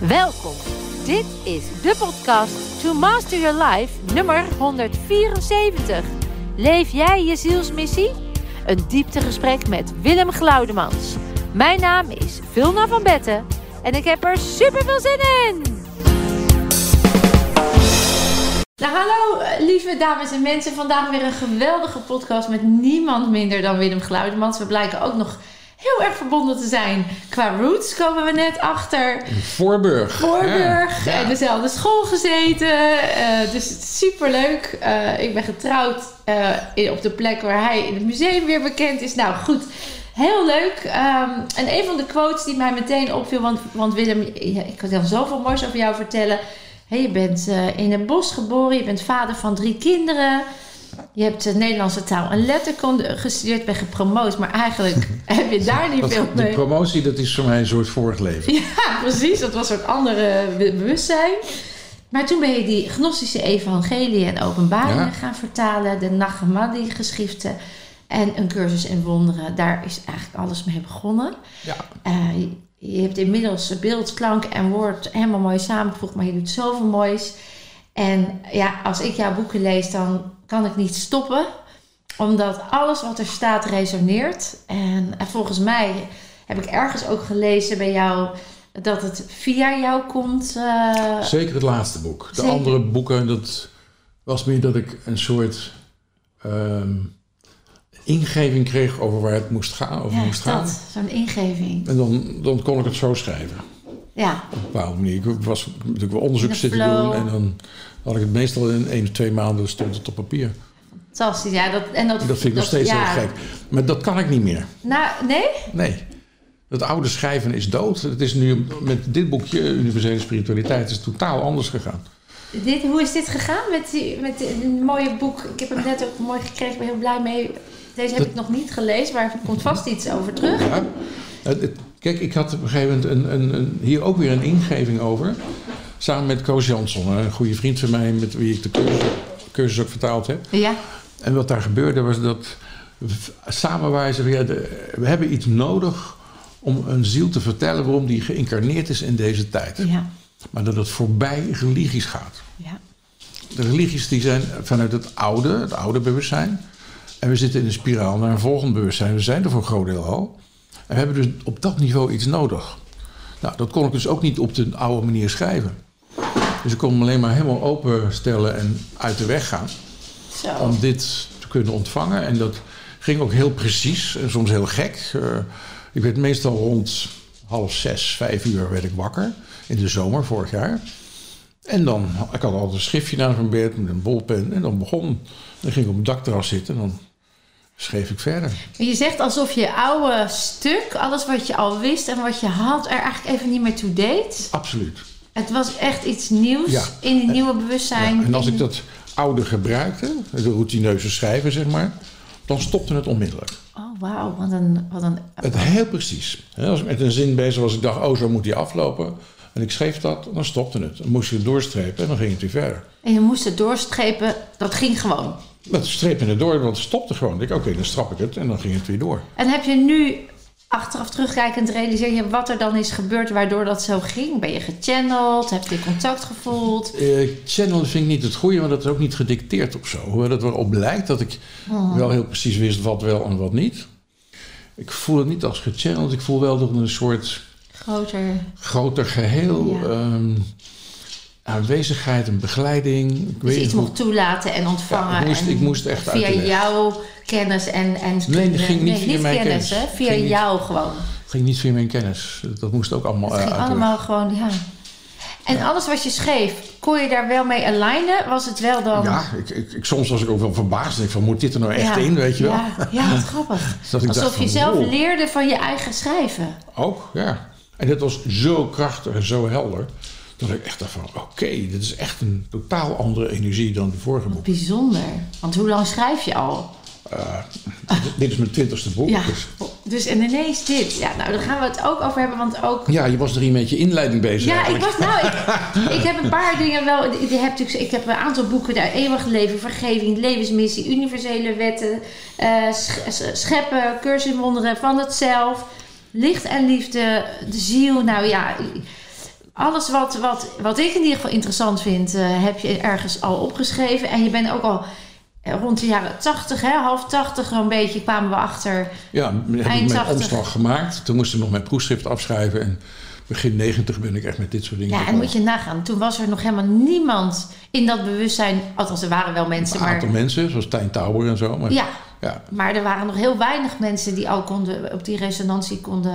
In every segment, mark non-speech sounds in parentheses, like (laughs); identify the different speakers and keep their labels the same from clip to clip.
Speaker 1: Welkom. Dit is de podcast To Master Your Life nummer 174. Leef jij je zielsmissie? Een dieptegesprek met Willem Glaudemans. Mijn naam is Vilna van Betten en ik heb er super veel zin in. Nou, hallo eh, lieve dames en mensen. Vandaag weer een geweldige podcast met niemand minder dan Willem Glaudemans. We blijken ook nog heel erg verbonden te zijn. Qua roots komen we net achter.
Speaker 2: Voorburg.
Speaker 1: Voorburg,
Speaker 2: Ja, ja.
Speaker 1: en dus dezelfde school gezeten. eh, dus het is superleuk. Eh, ik ben getrouwd eh, in- op de plek waar hij in het museum weer bekend is. Nou goed, heel leuk. Ehm, en een van de quotes die mij meteen opviel, want, want Willem, ja, ik kan zoveel moois over jou vertellen. Hé, je bent eh, in een bos geboren, je bent vader van drie kinderen. Je hebt eh, Nederlandse taal en letterkunde gestudeerd, ben gepromoot, maar
Speaker 2: (laughs)
Speaker 1: eigenlijk heb je daar niet
Speaker 2: Dat-
Speaker 1: veel
Speaker 2: de
Speaker 1: mee.
Speaker 2: promotie, dat is voor mij een soort vorig leven.
Speaker 1: Ja, precies. Dat was een andere be- bewustzijn. Maar toen ben je die gnostische evangelie en openbaringen
Speaker 2: Ja.
Speaker 1: gaan vertalen. De Nagamadi-geschriften. En een cursus in wonderen. Daar is eigenlijk alles mee begonnen.
Speaker 2: Ja.
Speaker 1: Eh, je- je hebt inmiddels beeld, klank en woord helemaal mooi samengevoegd. Maar je doet zoveel moois. En ja, als ik jouw boeken lees, dan kan ik niet stoppen. Omdat alles wat er staat resoneert. En eh, volgens mij heb ik ergens ook gelezen bij jou dat het via jou komt. eh,
Speaker 2: Zeker het laatste boek. De
Speaker 1: Zeker.
Speaker 2: andere boeken, dat was meer dat ik een soort ehm, ingeving kreeg over waar het moest gaan. Over
Speaker 1: ja,
Speaker 2: moest gaan.
Speaker 1: dat, zo'n ingeving.
Speaker 2: En dan, dan kon ik het zo schrijven.
Speaker 1: Ja,
Speaker 2: Op een bepaalde manier. Ik was natuurlijk wel onderzoek
Speaker 1: In de
Speaker 2: zitten
Speaker 1: flow.
Speaker 2: doen. En dan had ik het meestal in één of twee maanden stond het op papier.
Speaker 1: fantastisch. Ja, dat, en dat,
Speaker 2: Dat vind ik nog steeds
Speaker 1: ja.
Speaker 2: heel gek. Maar dat kan ik niet meer.
Speaker 1: Nou, nee?
Speaker 2: Nee. Dat oude schrijven is dood. Het is nu met dit boekje, Universele Spiritualiteit, is het totaal anders gegaan.
Speaker 1: Dit, hoe is dit gegaan met, die, met een mooie boek? Ik heb hem net ook mooi gekregen, ik ben heel blij mee. Deze heb
Speaker 2: Dat-
Speaker 1: ik nog niet gelezen, maar er komt vast iets over terug.
Speaker 2: Ja. Het- het- Kijk, ik had op een gegeven moment een, een, een- hier ook weer een ingeving over. Samen met Koos Jansson, een goede vriend van mij met wie ik de cursus, cursus ook vertaald heb.
Speaker 1: Ja,
Speaker 2: En wat daar gebeurde was dat we v- samen waren ze weer, de- we hebben iets nodig om een ziel te vertellen waarom die geïncarneerd is in deze tijd.
Speaker 1: ja,
Speaker 2: Maar dat het voorbij religies gaat.
Speaker 1: ja.
Speaker 2: De religies die zijn vanuit het oude, het oude bewustzijn. En we zitten in een spiraal naar een volgend bewustzijn. We zijn er voor een groot deel al. En we hebben dus op dat niveau iets nodig. Nou, dat kon ik dus ook niet op de oude manier schrijven. Dus ik kon hem alleen maar helemaal openstellen en uit de weg gaan.
Speaker 1: Zo.
Speaker 2: Om dit te kunnen ontvangen. En dat ging ook heel precies en soms heel gek. Eh, ik werd meestal rond half zes, vijf uur werd ik wakker. In de zomer vorig jaar. En dan, ik had altijd een schriftje naast mijn bed met een bolpen. En dan begon, dan ging ik op het dakterras zitten en dan schreef ik verder.
Speaker 1: Je zegt alsof je oude stuk, alles wat je al wist en wat je had, er eigenlijk even niet meer toe deed.
Speaker 2: Absoluut.
Speaker 1: Het was echt iets nieuws
Speaker 2: Ja.
Speaker 1: in die
Speaker 2: En-
Speaker 1: nieuwe
Speaker 2: Ja,
Speaker 1: bewustzijn.
Speaker 2: en als
Speaker 1: in-
Speaker 2: ik dat oude gebruikte, de routineuze schrijven zeg maar, dan stopte het onmiddellijk.
Speaker 1: Oh, wauw, wat een, wat een...
Speaker 2: Het heel precies. Hè, Als ik met een zin bezig was, ik dacht, oh, zo moet die aflopen. En ik schreef dat, dan stopte het. Dan moest je het doorstrepen en dan ging het weer verder.
Speaker 1: En je moest het doorstrepen, dat ging gewoon.
Speaker 2: Dat strepen het door, want het stopte gewoon. Ik dacht, oké, dan strap ik het en dan ging het weer door.
Speaker 1: En heb je nu achteraf terugkijkend realiseer je wat er dan is gebeurd waardoor dat zo ging? Ben je gechanneld? Heb je contact gevoeld?
Speaker 2: Eh, channel vind ik niet het goede, want dat is ook niet gedicteerd of zo. Hoewel dat erop lijkt dat ik
Speaker 1: Oh.
Speaker 2: wel heel precies wist wat wel en wat niet. Ik voel het niet als gechanneld. Ik voel wel dat er een soort
Speaker 1: Groter.
Speaker 2: groter geheel...
Speaker 1: Ja.
Speaker 2: ehm, aanwezigheid, een begeleiding. Ik
Speaker 1: Dus
Speaker 2: weet niet
Speaker 1: iets
Speaker 2: hoe-
Speaker 1: mocht toelaten en ontvangen.
Speaker 2: Ja, ik moest-
Speaker 1: en
Speaker 2: ik moest echt uit
Speaker 1: Via
Speaker 2: de weg.
Speaker 1: jouw kennis en... en
Speaker 2: Nee, dat ging niet via mijn
Speaker 1: hè?
Speaker 2: kennis.
Speaker 1: Via
Speaker 2: Ging niet. Oh,
Speaker 1: jou gewoon.
Speaker 2: Het ging niet via mijn kennis. Dat moest ook allemaal
Speaker 1: Het
Speaker 2: eh,
Speaker 1: ging
Speaker 2: uit de weg.
Speaker 1: allemaal gewoon, ja. En alles wat je schreef, kon je daar wel mee alignen? Was het wel dan...
Speaker 2: Ja, ik, ik, ik- soms was ik ook wel verbaasd. Ik van, moet dit er nou echt in, weet je wel?
Speaker 1: Ja, ja
Speaker 2: (laughs)
Speaker 1: wat grappig.
Speaker 2: Dat ik dacht
Speaker 1: Alsof je
Speaker 2: van,
Speaker 1: zelf
Speaker 2: wow.
Speaker 1: leerde van je eigen schrijven.
Speaker 2: Ook, ja. En dat was zo krachtig en zo helder... dat ik echt dacht van, oké, dit is echt een totaal andere energie dan de vorige boek.
Speaker 1: Bijzonder. Want hoe lang schrijf je al?
Speaker 2: Eh, (laughs) dit- dit is mijn twintigste boek.
Speaker 1: Ja,
Speaker 2: dus-
Speaker 1: dus en ineens dit. Ja, nou, daar gaan we het ook over hebben, want ook...
Speaker 2: ja, je was er een beetje inleiding bezig
Speaker 1: Ja, ik
Speaker 2: eigenlijk.
Speaker 1: was nou, ik, ik heb een paar dingen wel. Ik ik heb, natuurlijk- ik heb een aantal boeken daar: Eeuwig Leven, Vergeving, Levensmissie, Universele Wetten, eh, sch- sch- Scheppen, Cursus in Wonderen van het Zelf, Licht en Liefde, de Ziel. Nou ja, alles wat, wat, wat ik in ieder geval interessant vind, eh, heb je ergens al opgeschreven. En je bent ook al eh, rond de jaren 80, hè, half 80 een beetje kwamen we achter.
Speaker 2: Ja, m- heb ik
Speaker 1: Eind
Speaker 2: mijn
Speaker 1: 80.
Speaker 2: omslag gemaakt. Toen moest ik nog mijn proefschrift afschrijven. En begin 90 ben ik echt met dit soort dingen.
Speaker 1: Ja, en
Speaker 2: begonnen.
Speaker 1: moet je nagaan, toen was er nog helemaal niemand in dat bewustzijn. Althans, er waren wel mensen,
Speaker 2: Een aantal
Speaker 1: maar.
Speaker 2: mensen, zoals Tijn Tauber en zo. Maar,
Speaker 1: Ja,
Speaker 2: ja.
Speaker 1: maar er waren nog heel weinig mensen die al konden, op die resonantie konden.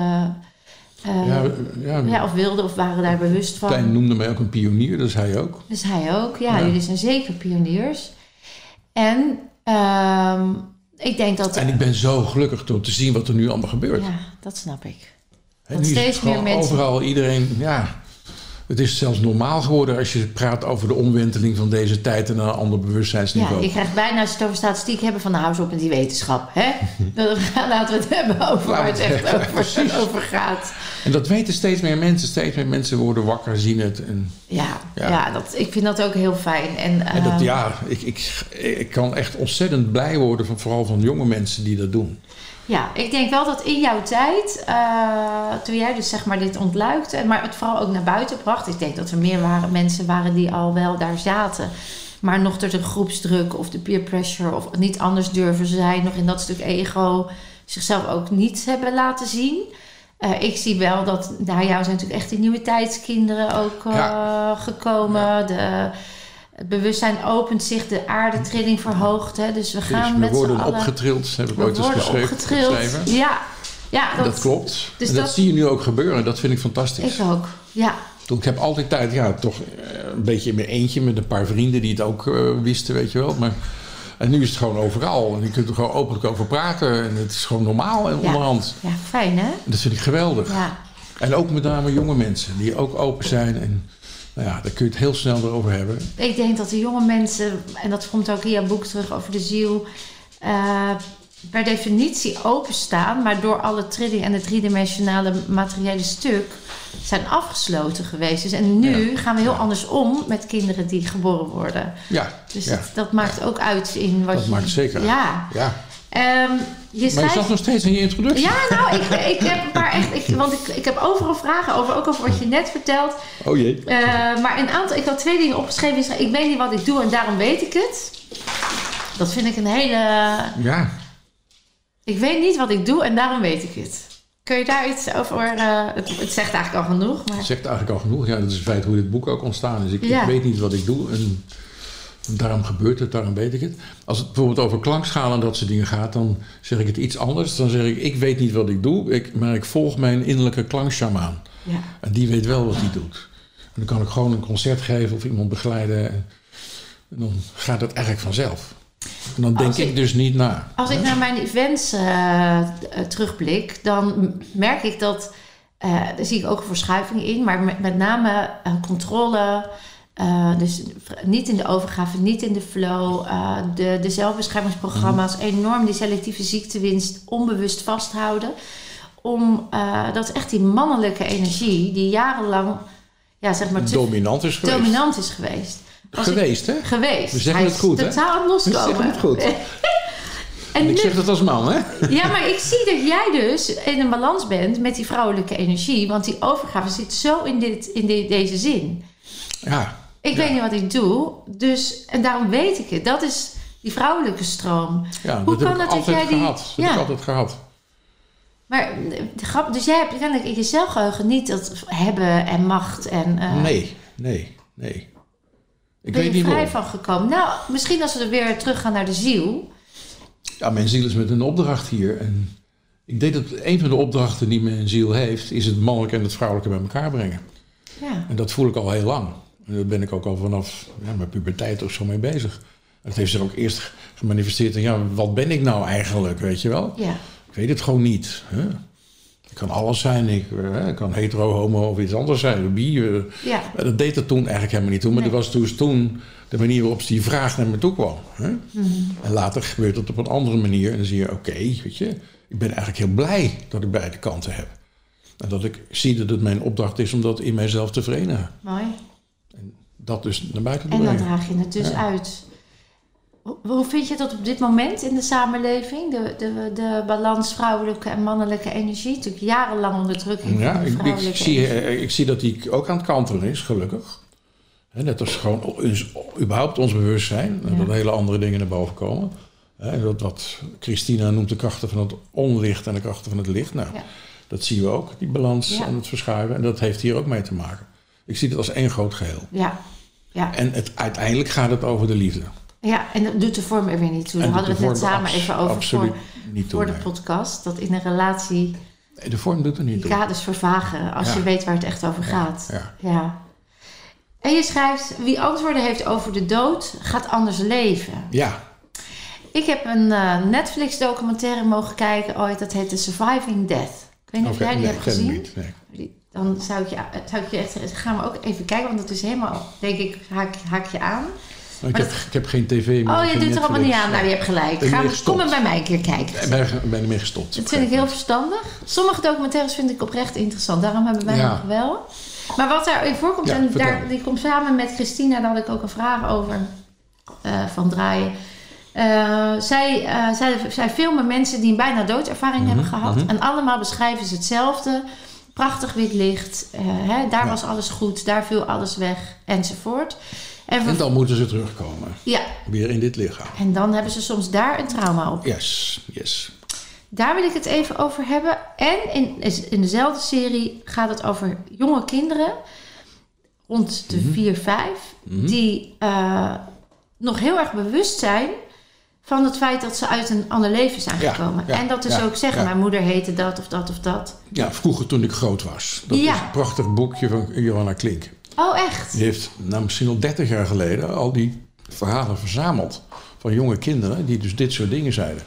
Speaker 1: eh,
Speaker 2: Ja,
Speaker 1: ja,
Speaker 2: ja,
Speaker 1: of wilden of waren daar bewust van.
Speaker 2: Tijn noemde mij ook een pionier, dat is hij ook.
Speaker 1: Dus hij ook. Ja,
Speaker 2: Ja.
Speaker 1: jullie zijn zeker pioniers. En ehm, ik denk dat...
Speaker 2: En ik ben zo gelukkig door te zien wat er nu allemaal gebeurt.
Speaker 1: ja, dat snap ik.
Speaker 2: En
Speaker 1: dat
Speaker 2: nu is
Speaker 1: steeds
Speaker 2: het gewoon
Speaker 1: meer mensen-
Speaker 2: overal iedereen, ja. Het is zelfs normaal geworden als je praat over de omwenteling van deze tijd en naar een ander
Speaker 1: Ja,
Speaker 2: bewustzijnsniveau.
Speaker 1: je krijgt bijna, als je het over statistiek hebben van de huis op met die wetenschap.
Speaker 2: (laughs)
Speaker 1: Hè? Dan gaan- laten we het hebben over waar het echt over, over gaat.
Speaker 2: En dat weten steeds meer mensen. Steeds meer mensen worden wakker, zien het. En,
Speaker 1: Ja, ja.
Speaker 2: Ja.
Speaker 1: dat, ik vind dat ook heel fijn. En,
Speaker 2: en dat,
Speaker 1: ehm,
Speaker 2: ja, ik, ik, ik kan echt ontzettend blij worden, van, vooral van jonge mensen die dat doen.
Speaker 1: Ja, ik denk wel dat in jouw tijd, eh, toen jij dus zeg maar dit ontluikte, maar het vooral ook naar buiten bracht. Ik denk dat er meer waren, mensen waren die al wel daar zaten. Maar nog door de groepsdruk of de peer pressure of niet anders durven zijn, nog in dat stuk ego, zichzelf ook niet hebben laten zien. Eh, ik zie wel dat, nou jou zijn natuurlijk echt die nieuwe tijdskinderen ook eh,
Speaker 2: Ja.
Speaker 1: gekomen. De, het bewustzijn opent zich, de aardetrilling verhoogt. Hè? Dus we gaan
Speaker 2: Dus we
Speaker 1: met z'n
Speaker 2: worden
Speaker 1: allen...
Speaker 2: opgetrild, heb ik
Speaker 1: We
Speaker 2: ooit eens
Speaker 1: worden
Speaker 2: dus geschreven.
Speaker 1: opgetrild.
Speaker 2: geschreven.
Speaker 1: Ja, ja
Speaker 2: En
Speaker 1: dat,
Speaker 2: Dat klopt.
Speaker 1: dus
Speaker 2: en dat,
Speaker 1: dat-
Speaker 2: zie je nu ook gebeuren. Dat vind ik fantastisch.
Speaker 1: Ik ook. Ja,
Speaker 2: Ik heb altijd tijd, ja, toch eh, een beetje in mijn eentje met een paar vrienden die het ook eh, wisten, weet je wel. Maar, en nu is het gewoon overal. En je kunt er gewoon openlijk over praten. En het is gewoon normaal en
Speaker 1: Ja.
Speaker 2: onderhand.
Speaker 1: ja fijn hè?
Speaker 2: En dat vind ik geweldig.
Speaker 1: Ja.
Speaker 2: En ook met name jonge mensen die ook open zijn. En nou ja, daar kun je het heel snel over hebben.
Speaker 1: Ik denk dat de jonge mensen, en dat komt ook in jouw boek terug over de ziel, eh, per definitie openstaan, maar door alle trilling en het driedimensionale materiële stuk zijn afgesloten geweest. Dus, en nu
Speaker 2: Ja.
Speaker 1: gaan we heel
Speaker 2: Ja.
Speaker 1: anders om met kinderen die geboren worden.
Speaker 2: Ja,
Speaker 1: Dus
Speaker 2: ja,
Speaker 1: dat, dat maakt ook uit in wat
Speaker 2: Dat
Speaker 1: je...
Speaker 2: maakt zeker uit.
Speaker 1: Ja.
Speaker 2: ja.
Speaker 1: Ehm, je
Speaker 2: Maar je
Speaker 1: schrijft
Speaker 2: zat nog steeds in je introductie.
Speaker 1: Ja, nou, ik, ik heb een paar echt. Ik, want ik, ik heb overal vragen over, ook over wat je net vertelt.
Speaker 2: Oh jee.
Speaker 1: Eh, maar een aantal, ik had twee dingen opgeschreven. die zeggen, Ik weet niet wat ik doe en daarom weet ik het. Dat vind ik een hele.
Speaker 2: Ja,
Speaker 1: Ik weet niet wat ik doe en daarom weet ik het. Kun je daar iets over. eh, het, het zegt eigenlijk al genoeg, maar.
Speaker 2: dat zegt eigenlijk al genoeg. Ja, dat is in feite hoe dit boek ook ontstaan is. Ik, ik
Speaker 1: Ja.
Speaker 2: weet niet wat ik doe en daarom gebeurt het, daarom weet ik het. Als het bijvoorbeeld over klankschalen en dat soort dingen gaat, dan zeg ik het iets anders. Dan zeg ik, ik weet niet wat ik doe, ik, maar ik volg mijn innerlijke klanksjamaan.
Speaker 1: Ja.
Speaker 2: En die weet wel wat hij doet. En dan kan ik gewoon een concert geven of iemand begeleiden. En dan gaat het eigenlijk vanzelf. En dan denk
Speaker 1: Als
Speaker 2: ik,
Speaker 1: ik-
Speaker 2: dus niet na.
Speaker 1: Als ik naar mijn events eh, eh, terugblik, dan m- merk ik dat. eh daar zie ik ook een verschuiving in, maar met, met name eh, controle. eh, dus v- niet in de overgave, niet in de flow. eh, de, de zelfbeschermingsprogramma's,
Speaker 2: Mhm.
Speaker 1: enorm die selectieve ziektewinst onbewust vasthouden. Om, eh, dat is echt die mannelijke energie die jarenlang ja, zeg maar, te
Speaker 2: Dominant is geweest.
Speaker 1: dominant is geweest. Als ik-
Speaker 2: Geweest, hè?
Speaker 1: geweest.
Speaker 2: We zeggen
Speaker 1: Hij
Speaker 2: het goed,
Speaker 1: is
Speaker 2: hè?
Speaker 1: totaal aan het loskomen.
Speaker 2: We zeggen het goed.
Speaker 1: en
Speaker 2: (laughs) En ik
Speaker 1: nu
Speaker 2: zeg dat als man, hè?
Speaker 1: ja, maar ik zie dat jij dus in een balans bent met die vrouwelijke energie. Want die overgave zit zo in, dit, in de- deze zin.
Speaker 2: Ja.
Speaker 1: Ik
Speaker 2: Ja.
Speaker 1: weet niet wat ik doe. Dus, en daarom weet ik het. Dat is die vrouwelijke stroom.
Speaker 2: Ja,
Speaker 1: Hoe
Speaker 2: dat heb
Speaker 1: kan
Speaker 2: ik
Speaker 1: het dat
Speaker 2: altijd
Speaker 1: jij die-
Speaker 2: gehad. Dat
Speaker 1: Ja.
Speaker 2: heb ik altijd gehad.
Speaker 1: Maar eh, de grap, dus jij hebt kennelijk in je zelfgeheugen niet dat hebben en macht. En, eh,
Speaker 2: Nee, nee, nee. Ik
Speaker 1: ben
Speaker 2: weet
Speaker 1: je
Speaker 2: niet
Speaker 1: vrij
Speaker 2: waarom.
Speaker 1: van gekomen. Nou, misschien als we weer terug gaan naar de ziel.
Speaker 2: Ja, mijn ziel is met een opdracht hier. En ik denk dat een van de opdrachten die mijn ziel heeft... is het mannelijke en het vrouwelijke bij elkaar brengen.
Speaker 1: Ja.
Speaker 2: En dat voel ik al heel lang. En daar ben ik ook al vanaf ja, mijn puberteit of zo mee bezig. En het heeft zich ook eerst gemanifesteerd in... ja, wat ben ik nou eigenlijk, weet je wel?
Speaker 1: ja.
Speaker 2: Ik weet het gewoon niet. Hè? Ik kan alles zijn. Ik, eh, ik kan hetero, homo of iets anders zijn. Bi, eh,
Speaker 1: Ja.
Speaker 2: Maar Dat deed het toen eigenlijk helemaal niet toe. Maar
Speaker 1: Nee.
Speaker 2: dat was dus toen de manier waarop ze die vraag naar me toe kwam. Hè?
Speaker 1: Mhm.
Speaker 2: En later gebeurt dat op een andere manier. En dan zie je, oké, weet je, ik ben eigenlijk heel blij dat ik beide kanten heb. En dat ik zie dat het mijn opdracht is om dat in mijzelf te verenigen.
Speaker 1: Mooi.
Speaker 2: Dat dus naar buiten te
Speaker 1: En dan
Speaker 2: brengen.
Speaker 1: draag je het dus
Speaker 2: Ja.
Speaker 1: uit. Hoe- Hoe vind je dat op dit moment in de samenleving? De, de, de balans vrouwelijke en mannelijke energie? Natuurlijk jarenlang onderdrukking
Speaker 2: Ja,
Speaker 1: van de
Speaker 2: ik, ik,
Speaker 1: vrouwelijke
Speaker 2: zie,
Speaker 1: energie.
Speaker 2: eh, ik zie dat die ook aan het kantelen is, gelukkig. Hè, net als gewoon o- is, überhaupt ons bewustzijn. en
Speaker 1: Ja.
Speaker 2: Dat hele andere dingen naar boven komen. Hè, dat, wat Christina noemt de krachten van het onlicht en de krachten van het licht. Nou,
Speaker 1: Ja.
Speaker 2: dat zien we ook, die balans
Speaker 1: Ja.
Speaker 2: en het verschuiven. En dat heeft hier ook mee te maken. Ik zie het als één groot geheel.
Speaker 1: Ja, ja.
Speaker 2: En het, uiteindelijk gaat het over de liefde.
Speaker 1: ja, en dat doet de vorm er weer niet toe. Daar
Speaker 2: en
Speaker 1: hadden we
Speaker 2: de
Speaker 1: het net
Speaker 2: vorm
Speaker 1: samen
Speaker 2: abs-
Speaker 1: even over
Speaker 2: Absoluut
Speaker 1: voor,
Speaker 2: niet toe.
Speaker 1: voor de
Speaker 2: nee.
Speaker 1: podcast. Dat in een relatie
Speaker 2: Nee, de vorm doet er niet
Speaker 1: die
Speaker 2: toe.
Speaker 1: kaders vervagen als
Speaker 2: Ja.
Speaker 1: je weet waar het echt over gaat.
Speaker 2: ja.
Speaker 1: En je schrijft, wie antwoorden heeft over de dood, gaat anders leven.
Speaker 2: Ja,
Speaker 1: Ik heb een eh, Netflix documentaire mogen kijken ooit. Dat heet The Surviving Death. Ik weet niet of
Speaker 2: oké,
Speaker 1: jij die
Speaker 2: nee,
Speaker 1: hebt
Speaker 2: ken ik
Speaker 1: gezien.
Speaker 2: niet, nee.
Speaker 1: Die- Dan zou ik, je, eh, zou ik je echt... Gaan we ook even kijken, want dat is helemaal... Denk ik, haak, haak je aan.
Speaker 2: Maar ik,
Speaker 1: Maar
Speaker 2: heb, ik heb geen tv meer.
Speaker 1: Oh, je
Speaker 2: geen
Speaker 1: doet er allemaal niet
Speaker 2: Netflix.
Speaker 1: aan. Nou, je hebt gelijk.
Speaker 2: Ben
Speaker 1: Ga,
Speaker 2: je gestopt?
Speaker 1: kom er bij mij een keer kijken.
Speaker 2: Ik ben, ben ermee gestopt.
Speaker 1: Dat vind ik heel verstandig. Sommige documentaires vind ik oprecht interessant. Daarom hebben wij
Speaker 2: Ja.
Speaker 1: nog wel. Maar wat daarin voorkomt,
Speaker 2: Ja,
Speaker 1: en
Speaker 2: vertel.
Speaker 1: daar, die komt samen met Christina, daar had ik ook een vraag over eh, van draaien. Eh, zij, eh, zij, zij filmen mensen die een bijna doodervaring
Speaker 2: Mhm,
Speaker 1: hebben gehad. En allemaal beschrijven ze hetzelfde. Prachtig wit licht. eh, hè, daar
Speaker 2: Ja.
Speaker 1: was alles goed. Daar viel alles weg. Enzovoort. En, ver-
Speaker 2: En dan moeten ze terugkomen.
Speaker 1: ja,
Speaker 2: Weer in dit lichaam.
Speaker 1: en dan hebben ze soms daar een trauma op.
Speaker 2: Yes, yes.
Speaker 1: Daar wil ik het even over hebben. En in, is- in dezelfde serie gaat het over jonge kinderen, rond
Speaker 2: Mhm.
Speaker 1: de 4, 5, die eh, nog heel erg bewust zijn van het feit dat ze uit een ander leven zijn
Speaker 2: Ja,
Speaker 1: gekomen.
Speaker 2: ja,
Speaker 1: en dat dus
Speaker 2: ja,
Speaker 1: ook zeggen,
Speaker 2: ja.
Speaker 1: mijn moeder heette dat of dat of dat.
Speaker 2: Ja, vroeger toen ik groot was. Dat
Speaker 1: Ja.
Speaker 2: is een prachtig boekje van Johanna Klink.
Speaker 1: Oh, echt?
Speaker 2: Die heeft nou, misschien al 30 jaar geleden al die verhalen verzameld. Van jonge kinderen die dus dit soort dingen zeiden.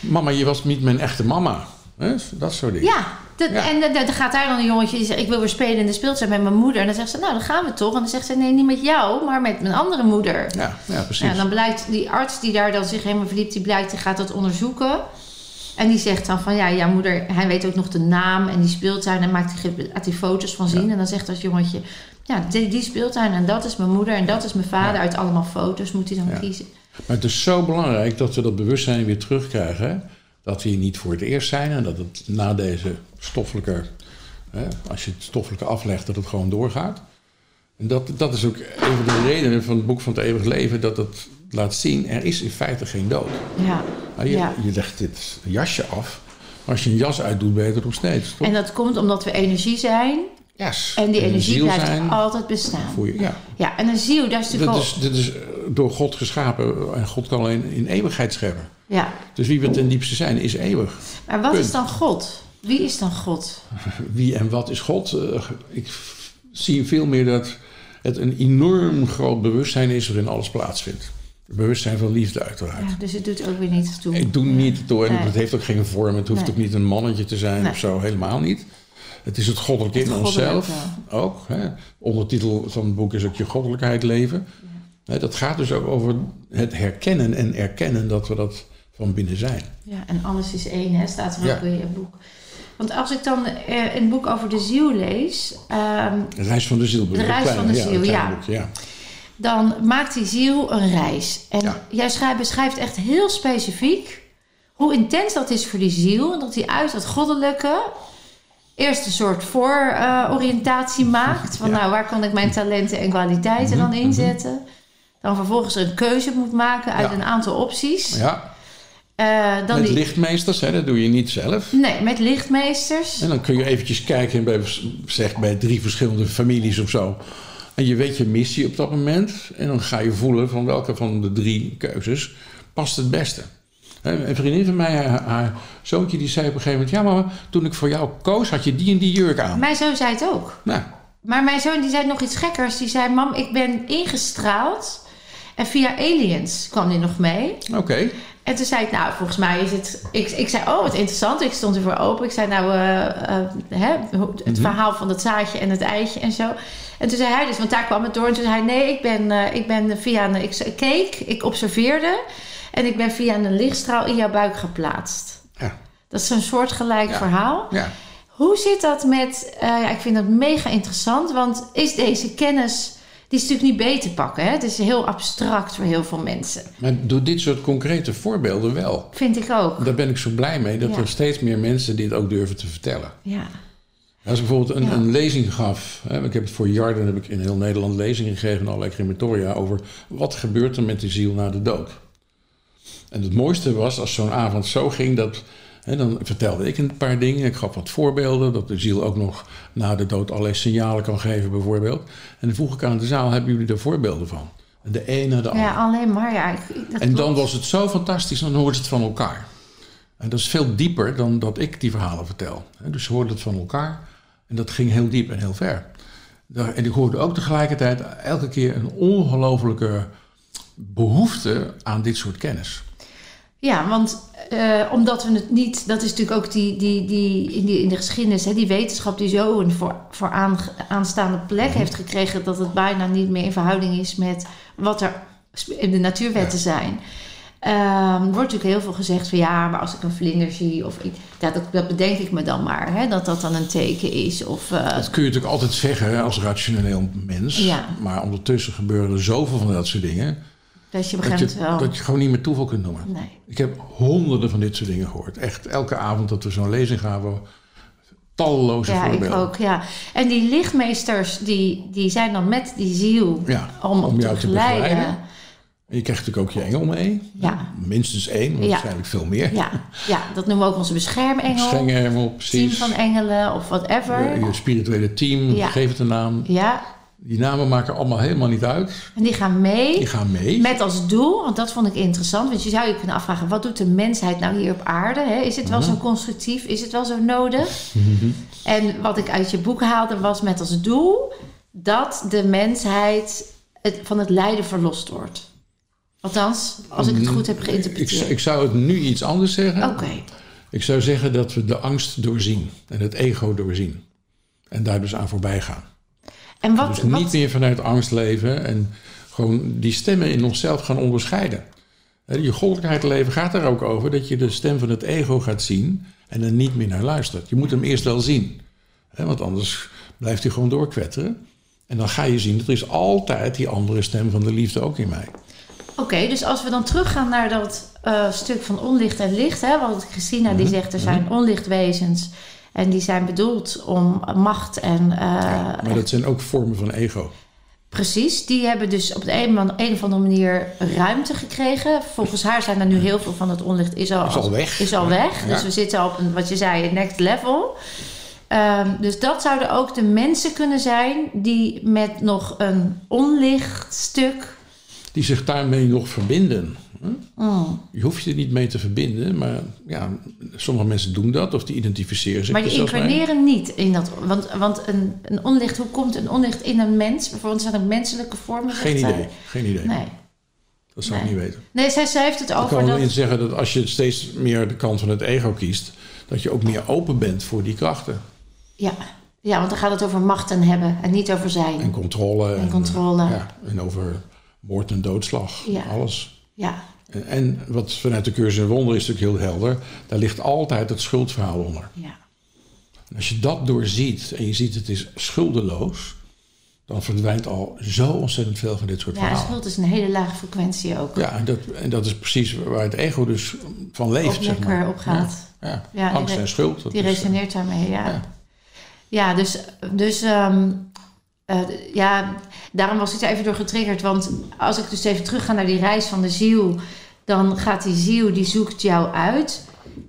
Speaker 2: Mama, je was niet mijn echte mama. Hè? Dat soort dingen.
Speaker 1: Ja. dat-
Speaker 2: Ja.
Speaker 1: En dan- dan gaat daar dan een jongetje die zegt... ik wil weer spelen in de speeltuin met mijn moeder. En dan zegt ze, nou, dan gaan we toch. En dan zegt ze, nee, niet met jou, maar met mijn andere moeder.
Speaker 2: Ja, ja, precies.
Speaker 1: Ja, dan blijkt die arts die daar dan zich helemaal verdiept, die blijkt, die gaat dat onderzoeken. En die zegt dan van, ja, jouw moeder, hij weet ook nog de naam en die speeltuin. En maakt die, laat die foto's van zien. En dan zegt dat jongetje, ja, die, die speeltuin en dat is mijn moeder en dat is mijn vader. Uit allemaal foto's moet hij dan
Speaker 2: Ja.
Speaker 1: kiezen.
Speaker 2: Maar het is zo belangrijk dat we dat bewustzijn weer terugkrijgen. hè. Dat we hier niet voor het eerst zijn en dat het na deze stoffelijke, hè, als je het stoffelijke aflegt, dat het gewoon doorgaat. En dat, dat is ook een van de redenen van het boek van het eeuwig leven, dat het laat zien, er is in feite geen dood.
Speaker 1: Ja,
Speaker 2: Nou, je,
Speaker 1: ja.
Speaker 2: je legt dit jasje af, maar als je een jas uitdoet, ben je er nog steeds. Toch?
Speaker 1: En dat komt omdat we energie zijn.
Speaker 2: Yes.
Speaker 1: En die
Speaker 2: een
Speaker 1: energie
Speaker 2: ziel
Speaker 1: blijft
Speaker 2: zijn,
Speaker 1: altijd bestaan.
Speaker 2: voel je, ja.
Speaker 1: Ja, en een ziel, daar is natuurlijk
Speaker 2: Dat
Speaker 1: al...
Speaker 2: is, dat is eh, door God geschapen en God kan alleen in eeuwigheid scheppen.
Speaker 1: Ja,
Speaker 2: Dus wie we ten diepste zijn, is eeuwig.
Speaker 1: maar wat
Speaker 2: Punt.
Speaker 1: is dan God? Wie is dan God?
Speaker 2: wie en wat is God? Eh, ik f- zie veel meer dat het een enorm groot bewustzijn is waarin alles plaatsvindt. Het bewustzijn van liefde uiteraard.
Speaker 1: Ja, dus het doet ook weer niets toe.
Speaker 2: Ik doe niet door, en
Speaker 1: Nee.
Speaker 2: het heeft ook geen vorm, het hoeft
Speaker 1: Nee.
Speaker 2: ook niet een mannetje te zijn
Speaker 1: Nee.
Speaker 2: of zo, helemaal niet. Het is het goddelijke in
Speaker 1: Het goddelijke.
Speaker 2: onszelf ook. Hè. Ondertitel van het boek is ook je goddelijkheid leven. Hè, dat gaat dus ook over het herkennen en erkennen dat we dat van binnen zijn.
Speaker 1: Ja, en alles is één, hè, staat er
Speaker 2: Ja.
Speaker 1: ook in je boek. Want als ik dan eh, een boek over de ziel lees, ehm,
Speaker 2: De reis van de ziel. bedoel ik,
Speaker 1: reis
Speaker 2: klein,
Speaker 1: van de
Speaker 2: een
Speaker 1: ziel,
Speaker 2: klein
Speaker 1: ja.
Speaker 2: boekje, ja.
Speaker 1: dan maakt die ziel een reis. En
Speaker 2: Ja.
Speaker 1: jij schrijft, beschrijft echt heel specifiek hoe intens dat is voor die ziel. En dat die uit dat goddelijke eerst een soort voororiëntatie maakt. Van
Speaker 2: (laughs) Ja. Mhm,
Speaker 1: nou, waar kan ik mijn talenten en kwaliteiten dan inzetten? Dan vervolgens een keuze moet maken uit
Speaker 2: Ja.
Speaker 1: een aantal opties.
Speaker 2: ja.
Speaker 1: Eh, dan
Speaker 2: Met
Speaker 1: die,
Speaker 2: lichtmeesters, hè, dat doe je niet zelf.
Speaker 1: Nee, met lichtmeesters.
Speaker 2: En dan kun je eventjes kijken bij, zeg, bij drie verschillende families of zo. En je weet je missie op dat moment. En dan ga je voelen van welke van de drie keuzes past het beste. Hè, Een vriendin van mij, haar, haar zoontje, die zei op een gegeven moment... Ja, mama, toen ik voor jou koos, had je die en die jurk aan.
Speaker 1: Mijn zoon zei het ook.
Speaker 2: Nou,
Speaker 1: Maar mijn zoon die zei nog iets gekkers. Die zei: Mam, ik ben ingestraald. En via aliens kwam hij nog mee.
Speaker 2: oké.
Speaker 1: En toen zei ik: Nou, volgens mij is het. Ik, ik zei: Oh, wat interessant. Ik stond ervoor open. Ik zei: Nou, eh, eh, hè, hoe- het verhaal van dat zaadje en het eitje en zo. En toen zei hij dus, want daar kwam het door. En toen zei hij: Nee, ik ben, eh, ik ben via een. Ik ik keek, ik observeerde. En ik ben via een lichtstraal in jouw buik geplaatst.
Speaker 2: Ja,
Speaker 1: Dat is zo'n soortgelijk
Speaker 2: Ja.
Speaker 1: verhaal.
Speaker 2: ja.
Speaker 1: Hoe zit dat met, eh, ja, ik vind dat mega interessant, want is deze kennis die is natuurlijk niet beter pakken. Hè? Het is heel abstract voor heel veel mensen.
Speaker 2: Maar door dit soort concrete voorbeelden wel.
Speaker 1: Vind ik ook.
Speaker 2: Daar ben ik zo blij mee dat
Speaker 1: Ja.
Speaker 2: er steeds meer mensen dit ook durven te vertellen.
Speaker 1: Ja.
Speaker 2: Als ik bijvoorbeeld een,
Speaker 1: Ja.
Speaker 2: een lezing gaf, hè, ik heb het voor Jarden heb ik in heel Nederland lezingen gegeven in allerlei crematoria over wat gebeurt er met de ziel na de dood. En het mooiste was als zo'n avond zo ging dat. Hè, dan vertelde ik een paar dingen, ik gaf wat voorbeelden, dat de ziel ook nog na de dood allerlei signalen kan geven, bijvoorbeeld. En dan vroeg ik aan de zaal: hebben jullie daar voorbeelden van? En de een na de ander.
Speaker 1: ja, alleen maar. Ja, ik- ik- dat
Speaker 2: En dan
Speaker 1: klopt.
Speaker 2: was het zo fantastisch, dan hoorden ze het van elkaar. En dat is veel dieper dan dat ik die verhalen vertel. Hè, Dus ze hoorden het van elkaar en dat ging heel diep en heel ver. Daar- En ik hoorde ook tegelijkertijd elke keer een ongelofelijke behoefte aan dit soort kennis.
Speaker 1: Ja, want eh, omdat we het niet, dat is natuurlijk ook die, die, die, in, die in de geschiedenis, hè, die wetenschap die zo een voor, voor aange- aanstaande plek
Speaker 2: Mhm.
Speaker 1: heeft gekregen, dat het bijna niet meer in verhouding is met wat er sp- in de natuurwetten zijn. Ehm, er wordt natuurlijk heel veel gezegd van ja, maar als ik een vlinder zie, of ik, ja, dat, dat bedenk ik me dan maar, hè, dat dat dan een teken is. Of, eh,
Speaker 2: Dat kun je natuurlijk altijd zeggen hè, als rationeel mens.
Speaker 1: Ja.
Speaker 2: Maar ondertussen gebeuren er zoveel van dat soort dingen.
Speaker 1: dat je
Speaker 2: Dat
Speaker 1: begrijpt
Speaker 2: je,
Speaker 1: wel.
Speaker 2: dat je gewoon niet meer toeval kunt noemen.
Speaker 1: Nee.
Speaker 2: Ik heb honderden van dit soort dingen gehoord. Echt elke avond dat we zo'n lezing gaven, talloze
Speaker 1: Ja,
Speaker 2: voorbeelden.
Speaker 1: ik ook, ja. En die lichtmeesters, die, die zijn dan met die ziel
Speaker 2: Ja,
Speaker 1: om,
Speaker 2: om jou
Speaker 1: te
Speaker 2: te
Speaker 1: begeleiden.
Speaker 2: begeleiden. En je krijgt natuurlijk ook je engel mee.
Speaker 1: Ja.
Speaker 2: Minstens één, maar
Speaker 1: Ja.
Speaker 2: waarschijnlijk veel meer.
Speaker 1: Ja, ja, dat noemen we ook onze beschermengel.
Speaker 2: Schengenengel,
Speaker 1: team
Speaker 2: precies.
Speaker 1: van engelen of whatever.
Speaker 2: je, je spirituele team,
Speaker 1: Ja.
Speaker 2: geef het een naam.
Speaker 1: Ja,
Speaker 2: Die namen maken allemaal helemaal niet uit.
Speaker 1: en die gaan mee.
Speaker 2: Die gaan mee.
Speaker 1: Met als doel, want dat vond ik interessant, want je zou je kunnen afvragen: wat doet de mensheid nou hier op aarde? Hè? Is het
Speaker 2: Mhm.
Speaker 1: wel zo constructief? Is het wel zo nodig? En wat ik uit je boek haalde was met als doel dat de mensheid het, van het lijden verlost wordt. Althans, als ik het goed heb
Speaker 2: Mm, ik,
Speaker 1: geïnterpreteerd. Oh.
Speaker 2: ik zou het nu iets anders zeggen.
Speaker 1: Oké,
Speaker 2: Ik zou zeggen dat we de angst doorzien. En het ego doorzien. En daar dus aan voorbij gaan.
Speaker 1: en wat,
Speaker 2: Dus
Speaker 1: wat
Speaker 2: niet meer vanuit angst leven en gewoon die stemmen in onszelf gaan onderscheiden. Hè, Je goddelijkheid leven gaat daar ook over dat je de stem van het ego gaat zien en er niet meer naar luistert. Je moet hem eerst wel zien, hè, want anders blijft hij gewoon doorkwetteren. En dan ga je zien dat er is altijd die andere stem van de liefde ook in mij.
Speaker 1: Oké, dus als we dan teruggaan naar dat eh, stuk van onlicht en licht, hè, want Christina
Speaker 2: Mhm.
Speaker 1: die zegt er zijn onlichtwezens en die zijn bedoeld om macht en eh,
Speaker 2: Maar dat zijn ook vormen van ego.
Speaker 1: precies, die hebben dus op de een, man- een of andere manier ruimte gekregen. Volgens haar zijn er nu heel veel van het onlicht is al,
Speaker 2: Is al weg.
Speaker 1: Is al weg.
Speaker 2: Ja.
Speaker 1: Dus we zitten al op een, wat je zei, een next level. Ehm, dus dat zouden ook de mensen kunnen zijn die met nog een onlicht stuk.
Speaker 2: Die zich daarmee nog verbinden.
Speaker 1: Mm.
Speaker 2: Je hoeft je er niet mee te verbinden, maar ja, sommige mensen doen dat of die identificeren zich
Speaker 1: Maar die
Speaker 2: er zelfs mee.
Speaker 1: incarneren niet in dat. Want, want een, een onlicht, hoe komt een onlicht in een mens? Bijvoorbeeld, zijn er menselijke vormen?
Speaker 2: Geen
Speaker 1: zegt
Speaker 2: idee, geen idee.
Speaker 1: zij. Nee.
Speaker 2: Dat zou
Speaker 1: Nee.
Speaker 2: ik niet weten.
Speaker 1: Nee, zij, zij heeft het
Speaker 2: Ik kan
Speaker 1: over
Speaker 2: alleen
Speaker 1: dat.
Speaker 2: zeggen dat als je steeds meer de kant van het ego kiest, dat je ook meer open bent voor die krachten.
Speaker 1: Ja. ja, want dan gaat het over macht en hebben en niet over zijn.
Speaker 2: En controle. En,
Speaker 1: controle.
Speaker 2: eh, ja, en over moord en doodslag.
Speaker 1: Ja.
Speaker 2: Alles.
Speaker 1: Ja,
Speaker 2: En, en wat vanuit de cursus in wonder is natuurlijk heel helder. Daar ligt altijd het schuldverhaal onder.
Speaker 1: ja.
Speaker 2: En als je dat doorziet en je ziet het is schuldeloos, dan verdwijnt al zo ontzettend veel van dit soort
Speaker 1: ja en
Speaker 2: verhalen.
Speaker 1: schuld is dus een hele lage frequentie ook.
Speaker 2: Ja, en dat, en dat is precies waar het ego dus van leeft.
Speaker 1: Of
Speaker 2: zeg
Speaker 1: lekker
Speaker 2: maar.
Speaker 1: op gaat.
Speaker 2: Ja, ja.
Speaker 1: Ja, die
Speaker 2: angst
Speaker 1: re-
Speaker 2: en schuld. dat
Speaker 1: Die
Speaker 2: is, eh,
Speaker 1: resoneert daarmee, ja. Ja,
Speaker 2: ja.
Speaker 1: dus, dus ehm, eh, d- ja, daarom was ik er even door getriggerd. Want als ik dus even terug ga naar die reis van de ziel, dan gaat die ziel, die zoekt jou uit.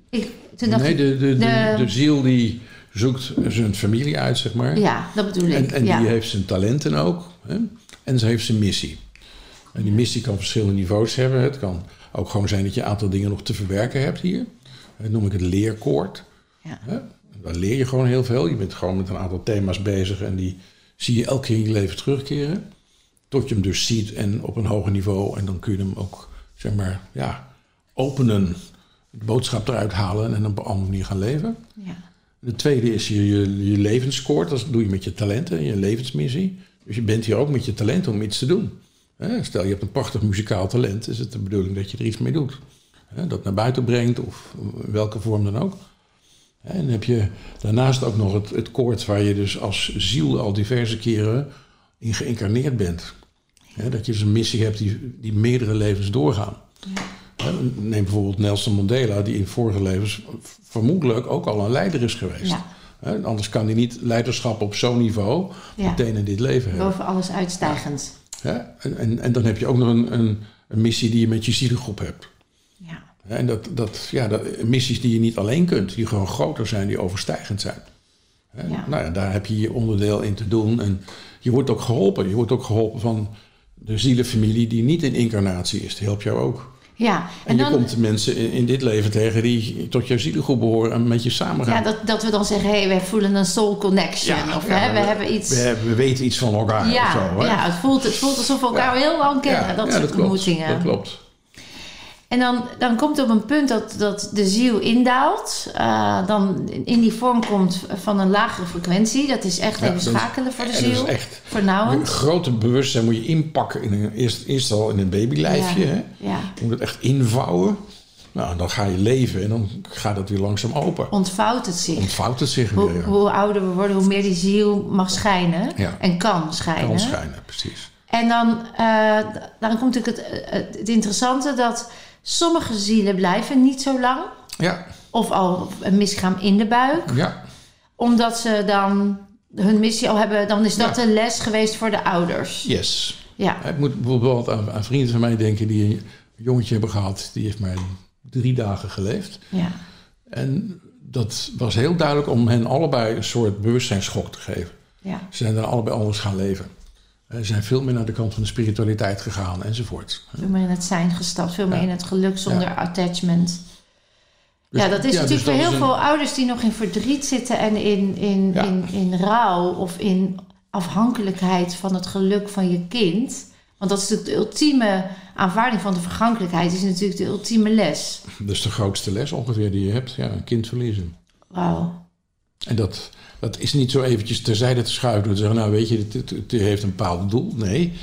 Speaker 1: Ik, toen dacht
Speaker 2: nee,
Speaker 1: ik,
Speaker 2: de, de, de,
Speaker 1: de-
Speaker 2: de ziel die zoekt zijn familie uit, zeg maar.
Speaker 1: ja, dat bedoel ik.
Speaker 2: en en
Speaker 1: ja.
Speaker 2: die eh, heeft zijn talenten ook. Hè? En ze heeft zijn missie. En die missie kan verschillende niveaus hebben. Het kan ook gewoon zijn dat je een aantal dingen nog te verwerken hebt hier. Dat noem ik het leerkoord.
Speaker 1: Ja.
Speaker 2: Hè? Daar leer je gewoon heel veel. Je bent gewoon met een aantal thema's bezig en die zie je elke keer in je leven terugkeren. Tot je hem dus ziet en op een hoger niveau. En dan kun je hem ook, zeg maar, ja, openen. De boodschap eruit halen en op een andere manier gaan leven.
Speaker 1: ja.
Speaker 2: De tweede is je, je, je levenskoord. Dat doe je met je talenten en je levensmissie. Dus je bent hier ook met je talent om iets te doen. Hè, Stel, je hebt een prachtig muzikaal talent. Is het de bedoeling dat je er iets mee doet? Hè, Dat naar buiten brengt of in welke vorm dan ook. En dan heb je daarnaast ook nog het, het koord waar je dus als ziel al diverse keren in geïncarneerd bent. Hè, dat je dus een missie hebt die, die meerdere levens doorgaan. Hè, Neem bijvoorbeeld Nelson Mandela, die in vorige levens vermoedelijk ook al een leider is geweest.
Speaker 1: Ja.
Speaker 2: Hè, anders kan hij niet leiderschap op zo'n niveau
Speaker 1: Ja.
Speaker 2: meteen in dit leven hebben.
Speaker 1: Boven alles uitstijgend.
Speaker 2: Hè? En, en, en dan heb je ook nog een, een, een missie die je met je zielengroep hebt.
Speaker 1: Ja.
Speaker 2: Hè, En dat, dat, ja, dat, missies die je niet alleen kunt, die gewoon groter zijn, die overstijgend zijn. Hè,
Speaker 1: Ja.
Speaker 2: Nou ja, daar heb je je onderdeel in te doen. En je wordt ook geholpen. Je wordt ook geholpen van de zielenfamilie die niet in incarnatie is. Die helpt jou ook.
Speaker 1: Ja, en,
Speaker 2: En,
Speaker 1: dan,
Speaker 2: je komt mensen in, in dit leven tegen die tot jouw zielengroep behoren en met je samengaan.
Speaker 1: ja, dat, dat we dan zeggen, hé, hey, wij voelen een soul connection.
Speaker 2: Ja,
Speaker 1: of
Speaker 2: ja,
Speaker 1: hè, we, hebben iets...
Speaker 2: We, hebben- we weten iets van elkaar of
Speaker 1: ja,
Speaker 2: zo. Hè?
Speaker 1: ja het, voelt, het voelt alsof we elkaar heel lang kennen,
Speaker 2: Ja,
Speaker 1: dat
Speaker 2: ja,
Speaker 1: soort
Speaker 2: klopt.
Speaker 1: ontmoetingen.
Speaker 2: Dat klopt.
Speaker 1: En dan, dan komt op een punt dat, dat de ziel indaalt, eh, dan in die vorm komt van een lagere frequentie. Dat is echt
Speaker 2: Ja,
Speaker 1: even
Speaker 2: dat is-
Speaker 1: schakelen voor de
Speaker 2: en dat is
Speaker 1: ziel.
Speaker 2: echt- Een
Speaker 1: Vernauwend.
Speaker 2: grote bewustzijn moet je inpakken. In een, eerst, eerst al in een babylijfje. Hè?
Speaker 1: Ja,
Speaker 2: Je moet het echt invouwen. Nou, dan ga je leven en dan gaat dat weer langzaam open.
Speaker 1: ontvouwt het zich.
Speaker 2: Ontvouwt het zich
Speaker 1: Hoe,
Speaker 2: weer.
Speaker 1: hoe ouder we worden, hoe meer die ziel mag schijnen
Speaker 2: Ja.
Speaker 1: en kan schijnen.
Speaker 2: Kan schijnen, precies.
Speaker 1: En dan, eh, d- dan komt natuurlijk het, eh, het interessante dat sommige zielen blijven niet zo lang.
Speaker 2: Ja,
Speaker 1: Of al een miskraam in de buik.
Speaker 2: ja,
Speaker 1: Omdat ze dan hun missie al hebben. Dan is dat
Speaker 2: Ja.
Speaker 1: een les geweest voor de ouders.
Speaker 2: yes.
Speaker 1: Ja.
Speaker 2: Ik moet bijvoorbeeld aan, aan vrienden van mij denken die een jongetje hebben gehad. Die heeft maar drie dagen geleefd.
Speaker 1: Ja.
Speaker 2: En dat was heel duidelijk om hen allebei een soort bewustzijnsschok te geven.
Speaker 1: Ja.
Speaker 2: Ze zijn dan allebei anders gaan leven. Eh, Ze zijn veel meer naar de kant van de spiritualiteit gegaan enzovoort.
Speaker 1: Veel meer in het zijn gestapt. Veel meer
Speaker 2: Ja.
Speaker 1: in het geluk zonder attachment.
Speaker 2: Dus-
Speaker 1: ja, dat is
Speaker 2: ja,
Speaker 1: natuurlijk
Speaker 2: dus
Speaker 1: voor
Speaker 2: dat
Speaker 1: heel
Speaker 2: is een-
Speaker 1: veel ouders die nog in verdriet zitten en in, in,
Speaker 2: Ja.
Speaker 1: in, in rouw of in afhankelijkheid van het geluk van je kind. Want dat is natuurlijk de ultieme aanvaarding van de vergankelijkheid, is natuurlijk de ultieme les.
Speaker 2: Dat is de grootste les ongeveer die je hebt. Ja, een kind verliezen.
Speaker 1: Wauw.
Speaker 2: En dat, dat is niet zo eventjes terzijde te schuiven. Door te zeggen, nou weet je, dit, dit- dit heeft een bepaald doel. Nee,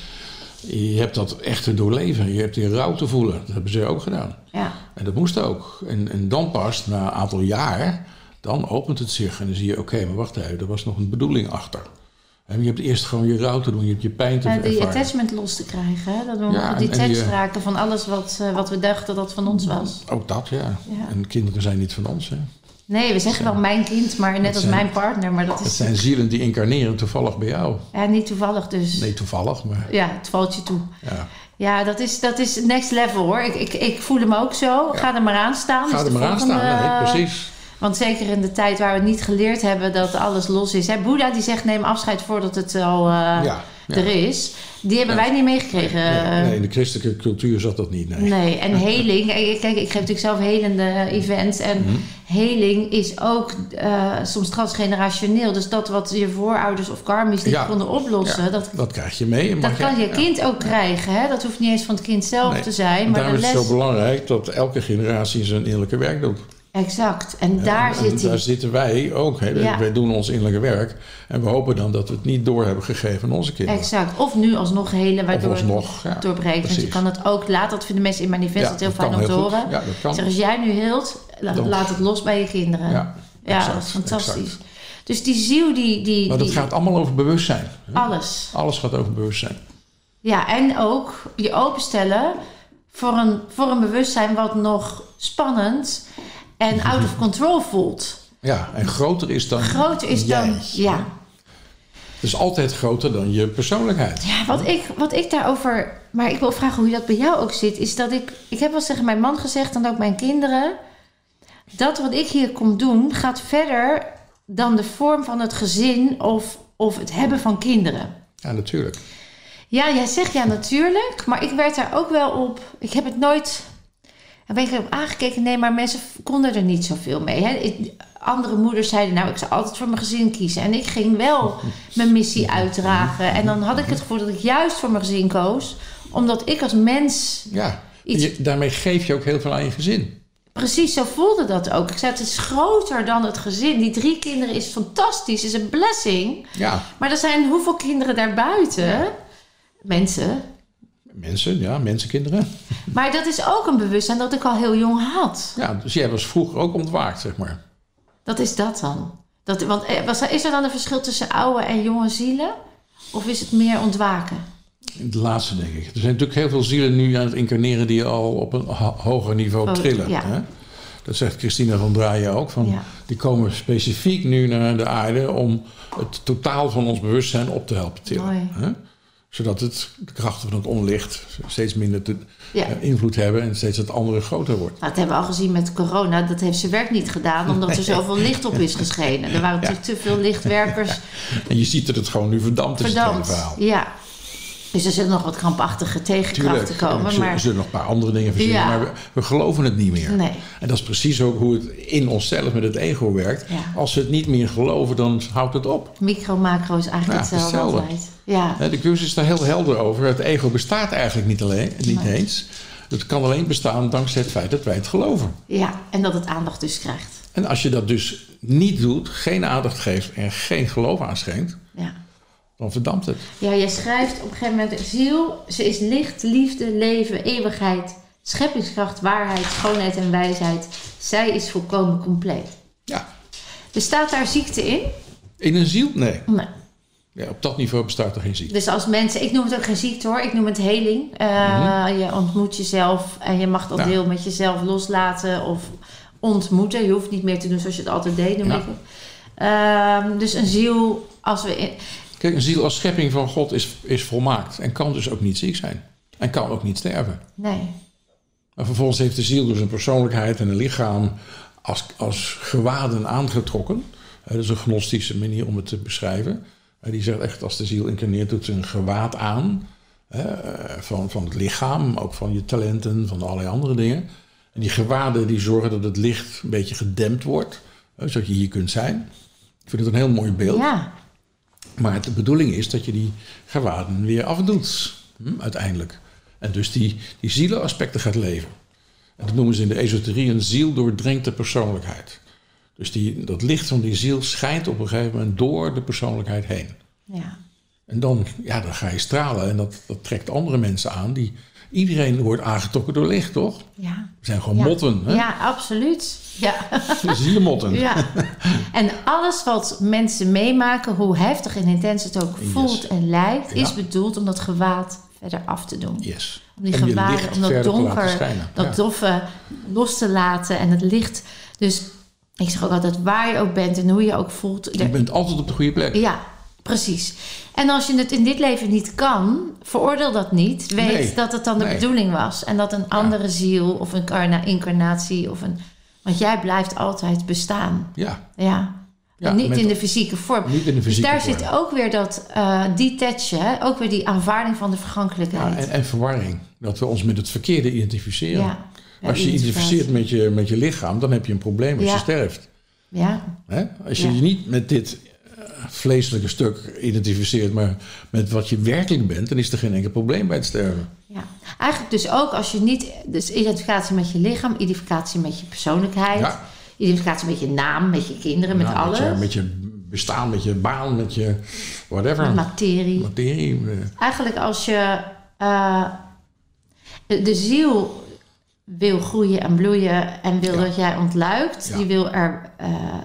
Speaker 2: je hebt dat echt te doorleven. Je hebt die rouw te voelen. Dat hebben ze ook gedaan.
Speaker 1: Ja.
Speaker 2: En dat moest ook. En, en dan pas, na een aantal jaar, dan opent het zich. En dan zie je, oké, maar wacht even, er was nog een bedoeling achter. En je hebt eerst gewoon je rouw te doen. Je hebt je pijn te
Speaker 1: En die
Speaker 2: ervaren.
Speaker 1: attachment los te krijgen. Hè? Dat we
Speaker 2: Ja,
Speaker 1: ja, die
Speaker 2: en- en die,
Speaker 1: attached
Speaker 2: eh,
Speaker 1: raken van alles wat, eh, wat we dachten dat van ons was.
Speaker 2: Ook dat, ja.
Speaker 1: Ja.
Speaker 2: En kinderen zijn niet van ons, hè.
Speaker 1: Nee, we zeggen wel mijn kind, maar net als
Speaker 2: zijn-
Speaker 1: mijn partner. Maar dat
Speaker 2: Het
Speaker 1: is
Speaker 2: zijn zielen die incarneren toevallig bij jou.
Speaker 1: ja, niet toevallig dus.
Speaker 2: Nee, toevallig, maar
Speaker 1: Ja, het valt je toe.
Speaker 2: ja.
Speaker 1: Ja, dat is, dat is next level hoor. Ik, ik, ik voel hem ook zo. Ga er maar aan staan.
Speaker 2: Ga
Speaker 1: is
Speaker 2: er
Speaker 1: de
Speaker 2: maar aan
Speaker 1: volgende,
Speaker 2: staan, hè,
Speaker 1: eh,
Speaker 2: precies.
Speaker 1: Want zeker in de tijd waar we niet geleerd hebben dat alles los is. Hè, Boeddha die zegt neem afscheid voordat het al eh,
Speaker 2: Ja, ja.
Speaker 1: er is. Die hebben
Speaker 2: Ja.
Speaker 1: wij niet meegekregen.
Speaker 2: Nee,
Speaker 1: eh,
Speaker 2: nee, in de christelijke cultuur zat dat niet, nee.
Speaker 1: Nee, en heling. eh, Kijk, ik geef natuurlijk zelf helende events. En
Speaker 2: Mhm.
Speaker 1: heling is ook eh, soms transgenerationeel. Dus dat wat je voorouders of karmisch niet
Speaker 2: Ja.
Speaker 1: konden oplossen,
Speaker 2: Ja,
Speaker 1: dat,
Speaker 2: dat, krijg je mee. en
Speaker 1: dat
Speaker 2: mag
Speaker 1: kan je kind ook krijgen. Hè? Dat hoeft niet eens van het kind zelf
Speaker 2: Nee,
Speaker 1: te zijn,
Speaker 2: En
Speaker 1: maar
Speaker 2: daarom
Speaker 1: de
Speaker 2: is het
Speaker 1: les.
Speaker 2: zo belangrijk dat elke generatie zijn innerlijke werk doet.
Speaker 1: Exact. En daar
Speaker 2: En- en
Speaker 1: zit
Speaker 2: daar
Speaker 1: hij.
Speaker 2: zitten wij ook. Hè.
Speaker 1: Ja.
Speaker 2: Wij doen ons innerlijke werk. En we hopen dan dat we het niet door hebben gegeven aan onze kinderen.
Speaker 1: Exact. Of nu alsnog helen, waardoor het
Speaker 2: alsnog, ja,
Speaker 1: doorbreekt. Want je
Speaker 2: precies.
Speaker 1: kan het ook laten. Dat vinden mensen in mijn events
Speaker 2: Ja,
Speaker 1: altijd heel
Speaker 2: dat
Speaker 1: fijn om
Speaker 2: kan
Speaker 1: te
Speaker 2: heel goed.
Speaker 1: horen.
Speaker 2: Ja, dat kan.
Speaker 1: Ik Zeg, als jij nu heelt, la-
Speaker 2: Dan-
Speaker 1: laat het los bij je kinderen.
Speaker 2: Ja,
Speaker 1: Ja,
Speaker 2: exact,
Speaker 1: dat is fantastisch.
Speaker 2: exact.
Speaker 1: Dus die ziel, die, die,
Speaker 2: Maar dat
Speaker 1: die-
Speaker 2: gaat allemaal over bewustzijn. hè.
Speaker 1: alles.
Speaker 2: Alles gaat over bewustzijn.
Speaker 1: Ja, en ook je openstellen voor een, voor een bewustzijn wat nog spannend
Speaker 2: (laughs)
Speaker 1: en out of control voelt.
Speaker 2: Ja, en groter is dan
Speaker 1: Groter is dan...
Speaker 2: jij.
Speaker 1: Ja,
Speaker 2: Het is altijd groter dan je persoonlijkheid.
Speaker 1: Ja, wat ik, wat ik daarover. Maar ik wil vragen hoe dat bij jou ook zit. Is dat ik. Ik heb wel eens tegen mijn man gezegd en ook mijn kinderen. Dat wat ik hier kom doen gaat verder dan de vorm van het gezin of, of het hebben van kinderen.
Speaker 2: Ja, natuurlijk.
Speaker 1: Ja, jij zegt ja natuurlijk, maar ik werd daar ook wel op. Ik heb het nooit. Daar ben ik op aangekeken. Nee, maar mensen konden er niet zoveel mee. Hè? Ik- andere moeders zeiden, nou, ik zou altijd voor mijn gezin kiezen. En ik ging wel mijn missie uitdragen. En dan had ik het gevoel dat ik juist voor mijn gezin koos, omdat ik als mens.
Speaker 2: Ja.
Speaker 1: Iets-
Speaker 2: Je- daarmee geef je ook heel veel aan je gezin.
Speaker 1: Precies, zo voelde dat ook. Ik zei, het is groter dan het gezin. Die drie kinderen is fantastisch, is een blessing.
Speaker 2: Ja.
Speaker 1: Maar er zijn hoeveel kinderen daarbuiten? Mensen,
Speaker 2: Mensen, ja, mensenkinderen.
Speaker 1: Maar dat is ook een bewustzijn dat ik al heel jong had.
Speaker 2: Ja, dus jij was vroeger ook ontwaakt, zeg maar.
Speaker 1: Dat is dat dan. Dat, want eh, was, is er dan een verschil tussen oude en jonge zielen? Of is het meer ontwaken? Nou,
Speaker 2: Het laatste, denk ik. Er zijn natuurlijk heel veel zielen nu aan het incarneren die al op een ho- hoger niveau
Speaker 1: Oh,
Speaker 2: trillen.
Speaker 1: ja.
Speaker 2: Hè? Dat zegt Christina van Draaien ook. Van,
Speaker 1: Ja.
Speaker 2: Die komen specifiek nu naar de aarde om het totaal van ons bewustzijn op te helpen
Speaker 1: Mooi.
Speaker 2: tillen. Hè? Zodat het, de krachten van het onlicht steeds minder te-
Speaker 1: Ja.
Speaker 2: eh, invloed hebben en steeds het andere groter wordt.
Speaker 1: Nou, dat hebben we al gezien met corona. Dat heeft zijn werk niet
Speaker 2: (laughs)
Speaker 1: gedaan, omdat er zoveel licht op is geschenen. Er waren natuurlijk te veel lichtwerkers
Speaker 2: En je ziet dat het gewoon nu verdampt is, het hele
Speaker 1: verdampt.
Speaker 2: verhaal.
Speaker 1: Ja. Dus er zullen nog wat krampachtige tegenkrachten
Speaker 2: er
Speaker 1: komen.
Speaker 2: zullen, er
Speaker 1: Maar
Speaker 2: zullen nog een paar andere dingen verzinnen,
Speaker 1: Ja.
Speaker 2: maar we, we geloven het niet meer.
Speaker 1: nee.
Speaker 2: En dat is precies ook hoe het in onszelf met het ego werkt.
Speaker 1: Ja.
Speaker 2: Als we het niet meer geloven, dan houdt het op.
Speaker 1: Micro, macro is eigenlijk
Speaker 2: Ja, het is
Speaker 1: hetzelfde,
Speaker 2: hetzelfde.
Speaker 1: altijd. Ja.
Speaker 2: Hè, De cursus is daar heel helder over. Het ego bestaat eigenlijk niet, alleen, niet
Speaker 1: Nee.
Speaker 2: eens. Het kan alleen bestaan dankzij het feit dat wij het geloven.
Speaker 1: ja, en dat het aandacht dus krijgt.
Speaker 2: En als je dat dus niet doet, geen aandacht geeft en geen geloof aanschenkt,
Speaker 1: Ja.
Speaker 2: dan verdampt het.
Speaker 1: ja, jij schrijft op een gegeven moment... Ziel, ze is licht, liefde, leven, eeuwigheid, scheppingskracht, waarheid, schoonheid en wijsheid. Zij is volkomen compleet.
Speaker 2: Ja.
Speaker 1: Er staat daar ziekte in?
Speaker 2: In een ziel? Nee.
Speaker 1: Nee.
Speaker 2: Ja, op dat niveau bestaat er geen ziekte.
Speaker 1: Dus als mensen, ik noem het ook geen ziekte hoor, ik noem het heling. Eh, Je ontmoet jezelf en je mag dat
Speaker 2: Mhm. Ja.
Speaker 1: deel met jezelf loslaten of ontmoeten. Je hoeft niet meer te doen zoals je het altijd deed, noem
Speaker 2: Ja.
Speaker 1: ik het. Ehm, dus een ziel, als we. in-
Speaker 2: Kijk, een ziel als schepping van God is, is volmaakt en kan dus ook niet ziek zijn. En kan ook niet sterven.
Speaker 1: nee,
Speaker 2: Maar vervolgens heeft de ziel dus een persoonlijkheid en een lichaam als, als gewaden aangetrokken. Eh, dat is een gnostische manier om het te beschrijven. Eh, die zegt echt, als de ziel incarneert, doet ze een gewaad aan. eh, van, van het lichaam, ook van je talenten, van allerlei andere dingen. En die gewaden die zorgen dat het licht een beetje gedempt wordt. eh, zodat je hier kunt zijn. Ik vind het een heel mooi beeld.
Speaker 1: ja.
Speaker 2: Maar de bedoeling is dat je die gewaden weer afdoet, hm, uiteindelijk. En dus die, die zielenaspecten gaat leven. En dat noemen ze in de esoterie een ziel doordrenkte persoonlijkheid. Dus die, dat licht van die ziel schijnt op een gegeven moment door de persoonlijkheid heen.
Speaker 1: ja.
Speaker 2: En dan, ja, dan ga je stralen en dat, dat trekt andere mensen aan. Die, iedereen wordt aangetrokken door licht, toch?
Speaker 1: Ja.
Speaker 2: We zijn gewoon
Speaker 1: Ja.
Speaker 2: motten, hè?
Speaker 1: Ja, absoluut.
Speaker 2: (laughs)
Speaker 1: Ja.
Speaker 2: Zielemotten.
Speaker 1: ja. En alles wat mensen meemaken, hoe heftig en intens het ook
Speaker 2: Yes.
Speaker 1: voelt en lijkt, is
Speaker 2: Ja.
Speaker 1: bedoeld om dat gewaad verder af te doen.
Speaker 2: Yes.
Speaker 1: Om die
Speaker 2: Om je
Speaker 1: gewaden,
Speaker 2: licht
Speaker 1: om dat
Speaker 2: verder te laten
Speaker 1: donker,
Speaker 2: schijnen.
Speaker 1: dat
Speaker 2: Ja.
Speaker 1: doffe los te laten en het licht. Dus ik zeg ook altijd waar je ook bent en hoe je ook voelt.
Speaker 2: Je bent altijd op de goede plek.
Speaker 1: Ja, precies. En als je het in dit leven niet kan, veroordeel dat niet. Weet
Speaker 2: Nee.
Speaker 1: dat het dan de
Speaker 2: Nee.
Speaker 1: bedoeling was. En dat een andere ziel of een karna- incarnatie of een... Want jij blijft altijd bestaan.
Speaker 2: Ja,
Speaker 1: Ja.
Speaker 2: Ja,
Speaker 1: niet
Speaker 2: met-
Speaker 1: in de fysieke vorm.
Speaker 2: niet in de
Speaker 1: Dus
Speaker 2: fysieke
Speaker 1: daar
Speaker 2: vorm.
Speaker 1: zit ook weer dat eh detachen, hè? ook weer die aanvaarding van de vergankelijkheid.
Speaker 2: Ja, en, en verwarring. Dat we ons met het verkeerde identificeren.
Speaker 1: Ja. Ja,
Speaker 2: Als je identificeert met je, met je lichaam, dan heb je een probleem als
Speaker 1: Ja.
Speaker 2: je sterft.
Speaker 1: Ja,
Speaker 2: Hè? Als je
Speaker 1: Ja.
Speaker 2: je niet met dit eh, vleeselijke stuk identificeert, maar met wat je werkelijk bent, dan is er geen enkel probleem bij het sterven.
Speaker 1: ja. Eigenlijk dus ook als je niet... Dus identificatie met je lichaam, identificatie met je persoonlijkheid...
Speaker 2: Ja.
Speaker 1: identificatie met je naam, met je kinderen, met
Speaker 2: Nou,
Speaker 1: alles.
Speaker 2: Met je, met je bestaan, met je baan, met je whatever.
Speaker 1: materie.
Speaker 2: materie. eh,
Speaker 1: Eigenlijk als je eh, de ziel wil groeien en bloeien en wil
Speaker 2: Ja.
Speaker 1: dat jij ontluikt,
Speaker 2: Ja.
Speaker 1: die wil er eh,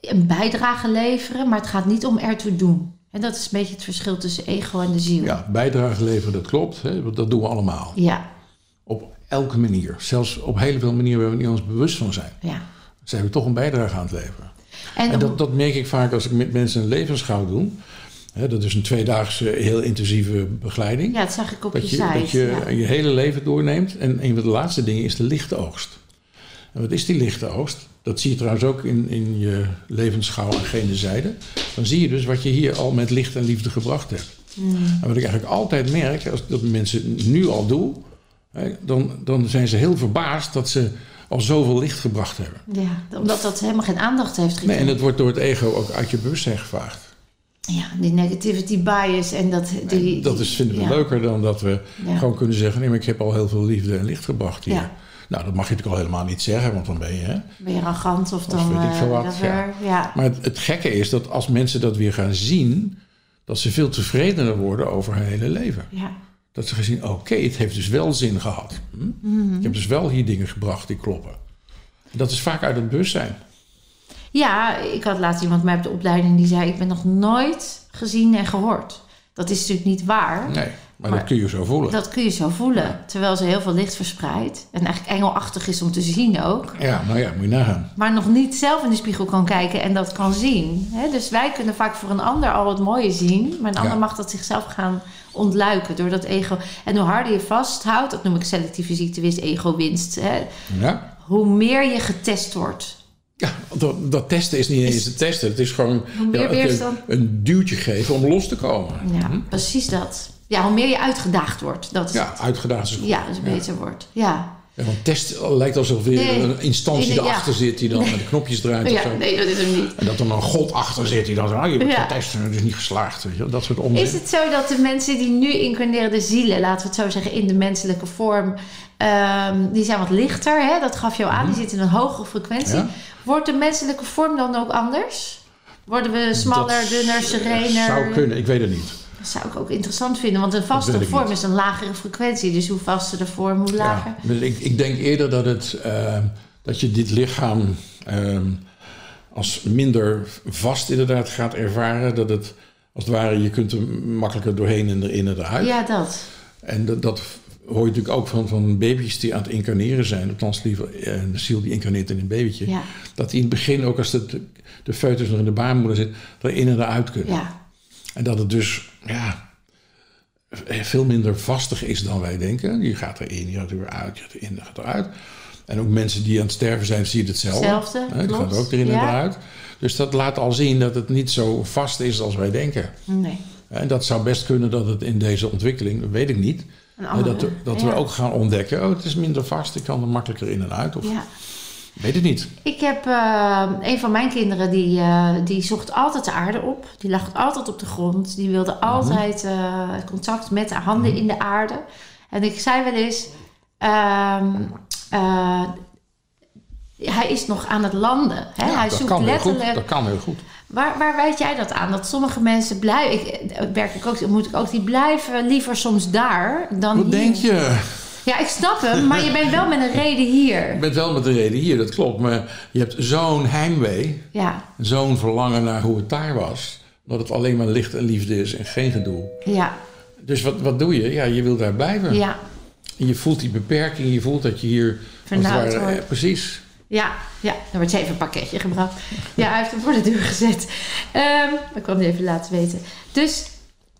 Speaker 1: een bijdrage leveren, maar het gaat niet om ertoe doen. En dat is een beetje het verschil tussen ego en de ziel.
Speaker 2: Ja, bijdrage leveren, dat klopt. Hè? want Dat doen we allemaal.
Speaker 1: ja,
Speaker 2: Op elke manier. Zelfs op heel veel manieren waar we niet ons bewust van zijn.
Speaker 1: ja.
Speaker 2: Zijn we toch een bijdrage aan het leveren.
Speaker 1: En,
Speaker 2: En dat, dat merk ik vaak als ik met mensen een levensschouw doe. Hè, dat is een tweedaagse, heel intensieve begeleiding.
Speaker 1: ja, dat zag ik op je,
Speaker 2: dat je,
Speaker 1: site.
Speaker 2: dat je
Speaker 1: ja.
Speaker 2: je hele leven doorneemt. En een van de laatste dingen is de lichte oogst. En wat is die lichte oogst? Dat zie je trouwens ook in, in je levensschouw aan gene zijde. Dan zie je dus wat je hier al met licht en liefde gebracht hebt.
Speaker 1: Hmm.
Speaker 2: En wat ik eigenlijk altijd merk, als ik dat met mensen nu al doe... Hè, dan, dan zijn ze heel verbaasd dat ze al zoveel licht gebracht hebben.
Speaker 1: Ja, omdat dat helemaal geen aandacht heeft
Speaker 2: Nee,
Speaker 1: gekregen.
Speaker 2: en dat wordt door het ego ook uit je bewustzijn gevaagd.
Speaker 1: Ja, die negativity bias en dat... Die,
Speaker 2: dat is, vinden we
Speaker 1: ja.
Speaker 2: leuker dan dat we
Speaker 1: Ja.
Speaker 2: gewoon kunnen zeggen: nee, maar ik heb al heel veel liefde en licht gebracht hier.
Speaker 1: Ja.
Speaker 2: Nou, dat mag je natuurlijk al helemaal niet zeggen, want dan ben je. Hè?
Speaker 1: Ben je arrogant of dan...
Speaker 2: weet ik
Speaker 1: eh,
Speaker 2: veel wat,
Speaker 1: dat
Speaker 2: ja.
Speaker 1: weer, ja.
Speaker 2: Maar het, het gekke is dat als mensen dat weer gaan zien, dat ze veel tevredener worden over hun hele leven.
Speaker 1: ja.
Speaker 2: Dat ze gaan zien: oké, het heeft dus wel zin gehad. Hm?
Speaker 1: Mhm.
Speaker 2: Ik heb dus wel hier dingen gebracht die kloppen. Dat is vaak uit het bewustzijn.
Speaker 1: Ja, ik had laatst iemand mij op de opleiding die zei: Ik ben nog nooit gezien en gehoord. Dat is natuurlijk niet waar.
Speaker 2: Nee, maar,
Speaker 1: Maar-
Speaker 2: dat kun je zo voelen.
Speaker 1: Dat kun je zo voelen. Terwijl ze heel veel licht verspreidt. En eigenlijk engelachtig is om te zien ook.
Speaker 2: Ja, nou ja, moet je nagaan.
Speaker 1: Maar nog niet zelf in de spiegel kan kijken en dat kan zien. Hè, dus wij kunnen vaak voor een ander al het mooie zien. Maar een ander
Speaker 2: Ja.
Speaker 1: mag dat zichzelf gaan ontluiken door dat ego. En hoe harder je vasthoudt, dat noem ik selectieve ziektewist, ego-winst. Hè,
Speaker 2: Ja,
Speaker 1: hoe meer je getest wordt.
Speaker 2: ja dat, dat testen is niet eens te testen. Het is gewoon
Speaker 1: meer
Speaker 2: ja, het,
Speaker 1: weerstand.
Speaker 2: een, een duwtje geven om los te komen.
Speaker 1: Ja, precies dat. Ja, hoe meer je uitgedaagd wordt. Dat is Mhm. ja.
Speaker 2: Ja, uitgedaagd is goed.
Speaker 1: dat is een beter woord. Ja.
Speaker 2: Ja, want test lijkt alsof er
Speaker 1: Nee.
Speaker 2: een instantie
Speaker 1: Nee, nee,
Speaker 2: erachter
Speaker 1: ja.
Speaker 2: zit die dan met de knopjes draait of
Speaker 1: ja,
Speaker 2: zo.
Speaker 1: nee, dat is hem niet.
Speaker 2: En dat er dan een god achter zit die dan zegt, ah, je bent
Speaker 1: Ja.
Speaker 2: getest en het is niet geslaagd. Weet je, wel. dat soort onzin.
Speaker 1: Is het zo dat de mensen die nu incarneren, de zielen, laten we het zo zeggen, in de menselijke vorm, ehm, die zijn wat lichter, hè? dat gaf je al aan, die zitten in een hogere frequentie.
Speaker 2: Mhm. Ja.
Speaker 1: Wordt de menselijke vorm dan ook anders? Worden we smaller,
Speaker 2: Dat eh,
Speaker 1: dunner, serener?
Speaker 2: zou kunnen, ik weet het niet.
Speaker 1: Dat zou ik ook interessant vinden, want een
Speaker 2: weet
Speaker 1: vaste
Speaker 2: ik
Speaker 1: vorm
Speaker 2: niet.
Speaker 1: is een lagere frequentie. Dus hoe vaster de vorm, hoe lager.
Speaker 2: Ja, dus ik, ik denk eerder dat, het, eh, dat je dit lichaam eh, als minder vast inderdaad gaat ervaren. Dat het als het ware, je kunt er makkelijker doorheen en erin en
Speaker 1: Ja,
Speaker 2: eruit.
Speaker 1: dat.
Speaker 2: En dat, dat hoor je natuurlijk ook van, van baby's die aan het incarneren zijn. Althans, liever eh, een ziel die incarneert in een babytje.
Speaker 1: Ja.
Speaker 2: Dat die in het begin, ook als de, de foetus nog in de baarmoeder zit, erin en eruit kunnen.
Speaker 1: Ja.
Speaker 2: En dat het dus ja, veel minder vastig is dan wij denken. Je gaat erin, je gaat er weer uit, je gaat erin, je gaat eruit. En ook mensen die aan het sterven zijn, zie je hetzelfde.
Speaker 1: Hetzelfde,
Speaker 2: Hè, Die
Speaker 1: klopt.
Speaker 2: gaan ook erin en
Speaker 1: Ja.
Speaker 2: eruit. Dus dat laat al zien dat het niet zo vast is als wij denken.
Speaker 1: Nee.
Speaker 2: En dat zou best kunnen dat het in deze ontwikkeling, dat weet ik niet.
Speaker 1: Een
Speaker 2: hè,
Speaker 1: andere,
Speaker 2: Dat, we- dat we
Speaker 1: ja.
Speaker 2: ook gaan ontdekken, oh het is minder vast, ik kan er makkelijker in en uit. Of
Speaker 1: Ja.
Speaker 2: weet het niet.
Speaker 1: Ik heb eh, een van mijn kinderen die, eh, die zocht altijd de aarde op. Die lag altijd op de grond. Die
Speaker 2: Mhm.
Speaker 1: wilde altijd eh, contact met haar handen in de aarde. En ik zei wel eens: ehm, eh, Hij is nog aan het landen. Hè?
Speaker 2: Ja,
Speaker 1: hij
Speaker 2: dat
Speaker 1: zoekt
Speaker 2: kan heel goed.
Speaker 1: letterlijk.
Speaker 2: Dat kan heel goed.
Speaker 1: Waar, waar weet jij dat aan? Dat sommige mensen blijven. Ik, eh, werk ik ook, moet ik ook. Die blijven liever soms daar dan
Speaker 2: Wat
Speaker 1: hier.
Speaker 2: denk je?
Speaker 1: Ja, ik snap hem, maar je bent wel met een reden hier.
Speaker 2: Je bent wel met de reden hier, dat klopt. Maar je hebt zo'n heimwee,
Speaker 1: Ja,
Speaker 2: zo'n verlangen naar hoe het daar was. Dat het alleen maar licht en liefde is en geen gedoe.
Speaker 1: ja,
Speaker 2: Dus wat, wat doe je? Ja, je wil daar blijven.
Speaker 1: ja.
Speaker 2: En je voelt die beperking, je voelt dat je hier... als het
Speaker 1: Vernauwd
Speaker 2: ware-
Speaker 1: wordt.
Speaker 2: eh, Precies.
Speaker 1: Ja, ja, dan wordt ze even een pakketje gebracht. Ja, hij heeft hem voor de deur gezet. Ehm ik kwam die even laten weten. Dus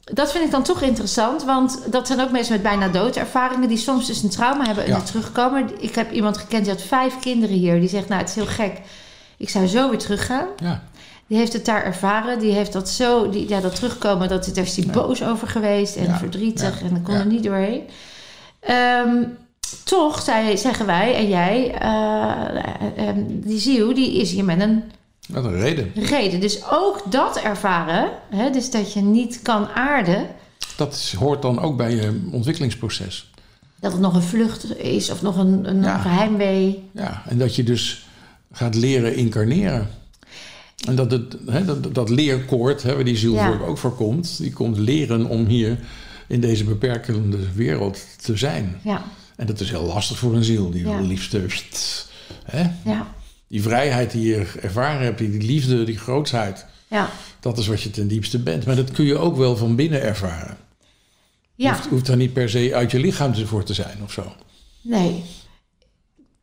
Speaker 1: dat vind ik dan toch interessant. Want dat zijn ook mensen met bijna doodervaringen... die soms dus een trauma hebben en
Speaker 2: Ja.
Speaker 1: weer terugkomen. Ik heb iemand gekend die had vijf kinderen hier. Die zegt, nou, het is heel gek. Ik zou zo weer teruggaan.
Speaker 2: Ja.
Speaker 1: Die heeft het daar ervaren. Die heeft dat zo, die, ja, dat terugkomen, dat, daar is hij boos over geweest en
Speaker 2: Ja,
Speaker 1: verdrietig
Speaker 2: ja,
Speaker 1: en dat kon
Speaker 2: ja.
Speaker 1: er niet doorheen. Ehm, toch zei, zeggen wij en jij, eh, ehm, die ziel, die is hier met een
Speaker 2: Wat een reden.
Speaker 1: reden. Dus ook dat ervaren, hè, dus dat je niet kan aarden,
Speaker 2: Dat is- hoort dan ook bij je ontwikkelingsproces.
Speaker 1: dat het nog een vlucht is of nog een, een
Speaker 2: Ja.
Speaker 1: geheimwee.
Speaker 2: Ja, en dat je dus gaat leren incarneren. En dat, het, hè, dat, dat leerkoord, hè, waar die ziel
Speaker 1: Ja.
Speaker 2: voor- ook voor komt, die komt leren om hier in deze beperkende wereld te zijn.
Speaker 1: Ja,
Speaker 2: En dat is heel lastig voor een ziel, die
Speaker 1: Ja.
Speaker 2: wil liefst. eh, pst, hè?
Speaker 1: ja,
Speaker 2: Die vrijheid die je ervaren hebt, die, die liefde, die grootsheid,
Speaker 1: ja.
Speaker 2: dat is wat je ten diepste bent. Maar dat kun je ook wel van binnen ervaren.
Speaker 1: ja.
Speaker 2: Hoeft, hoeft daar niet per se uit je lichaam te- voor te zijn of zo.
Speaker 1: Nee.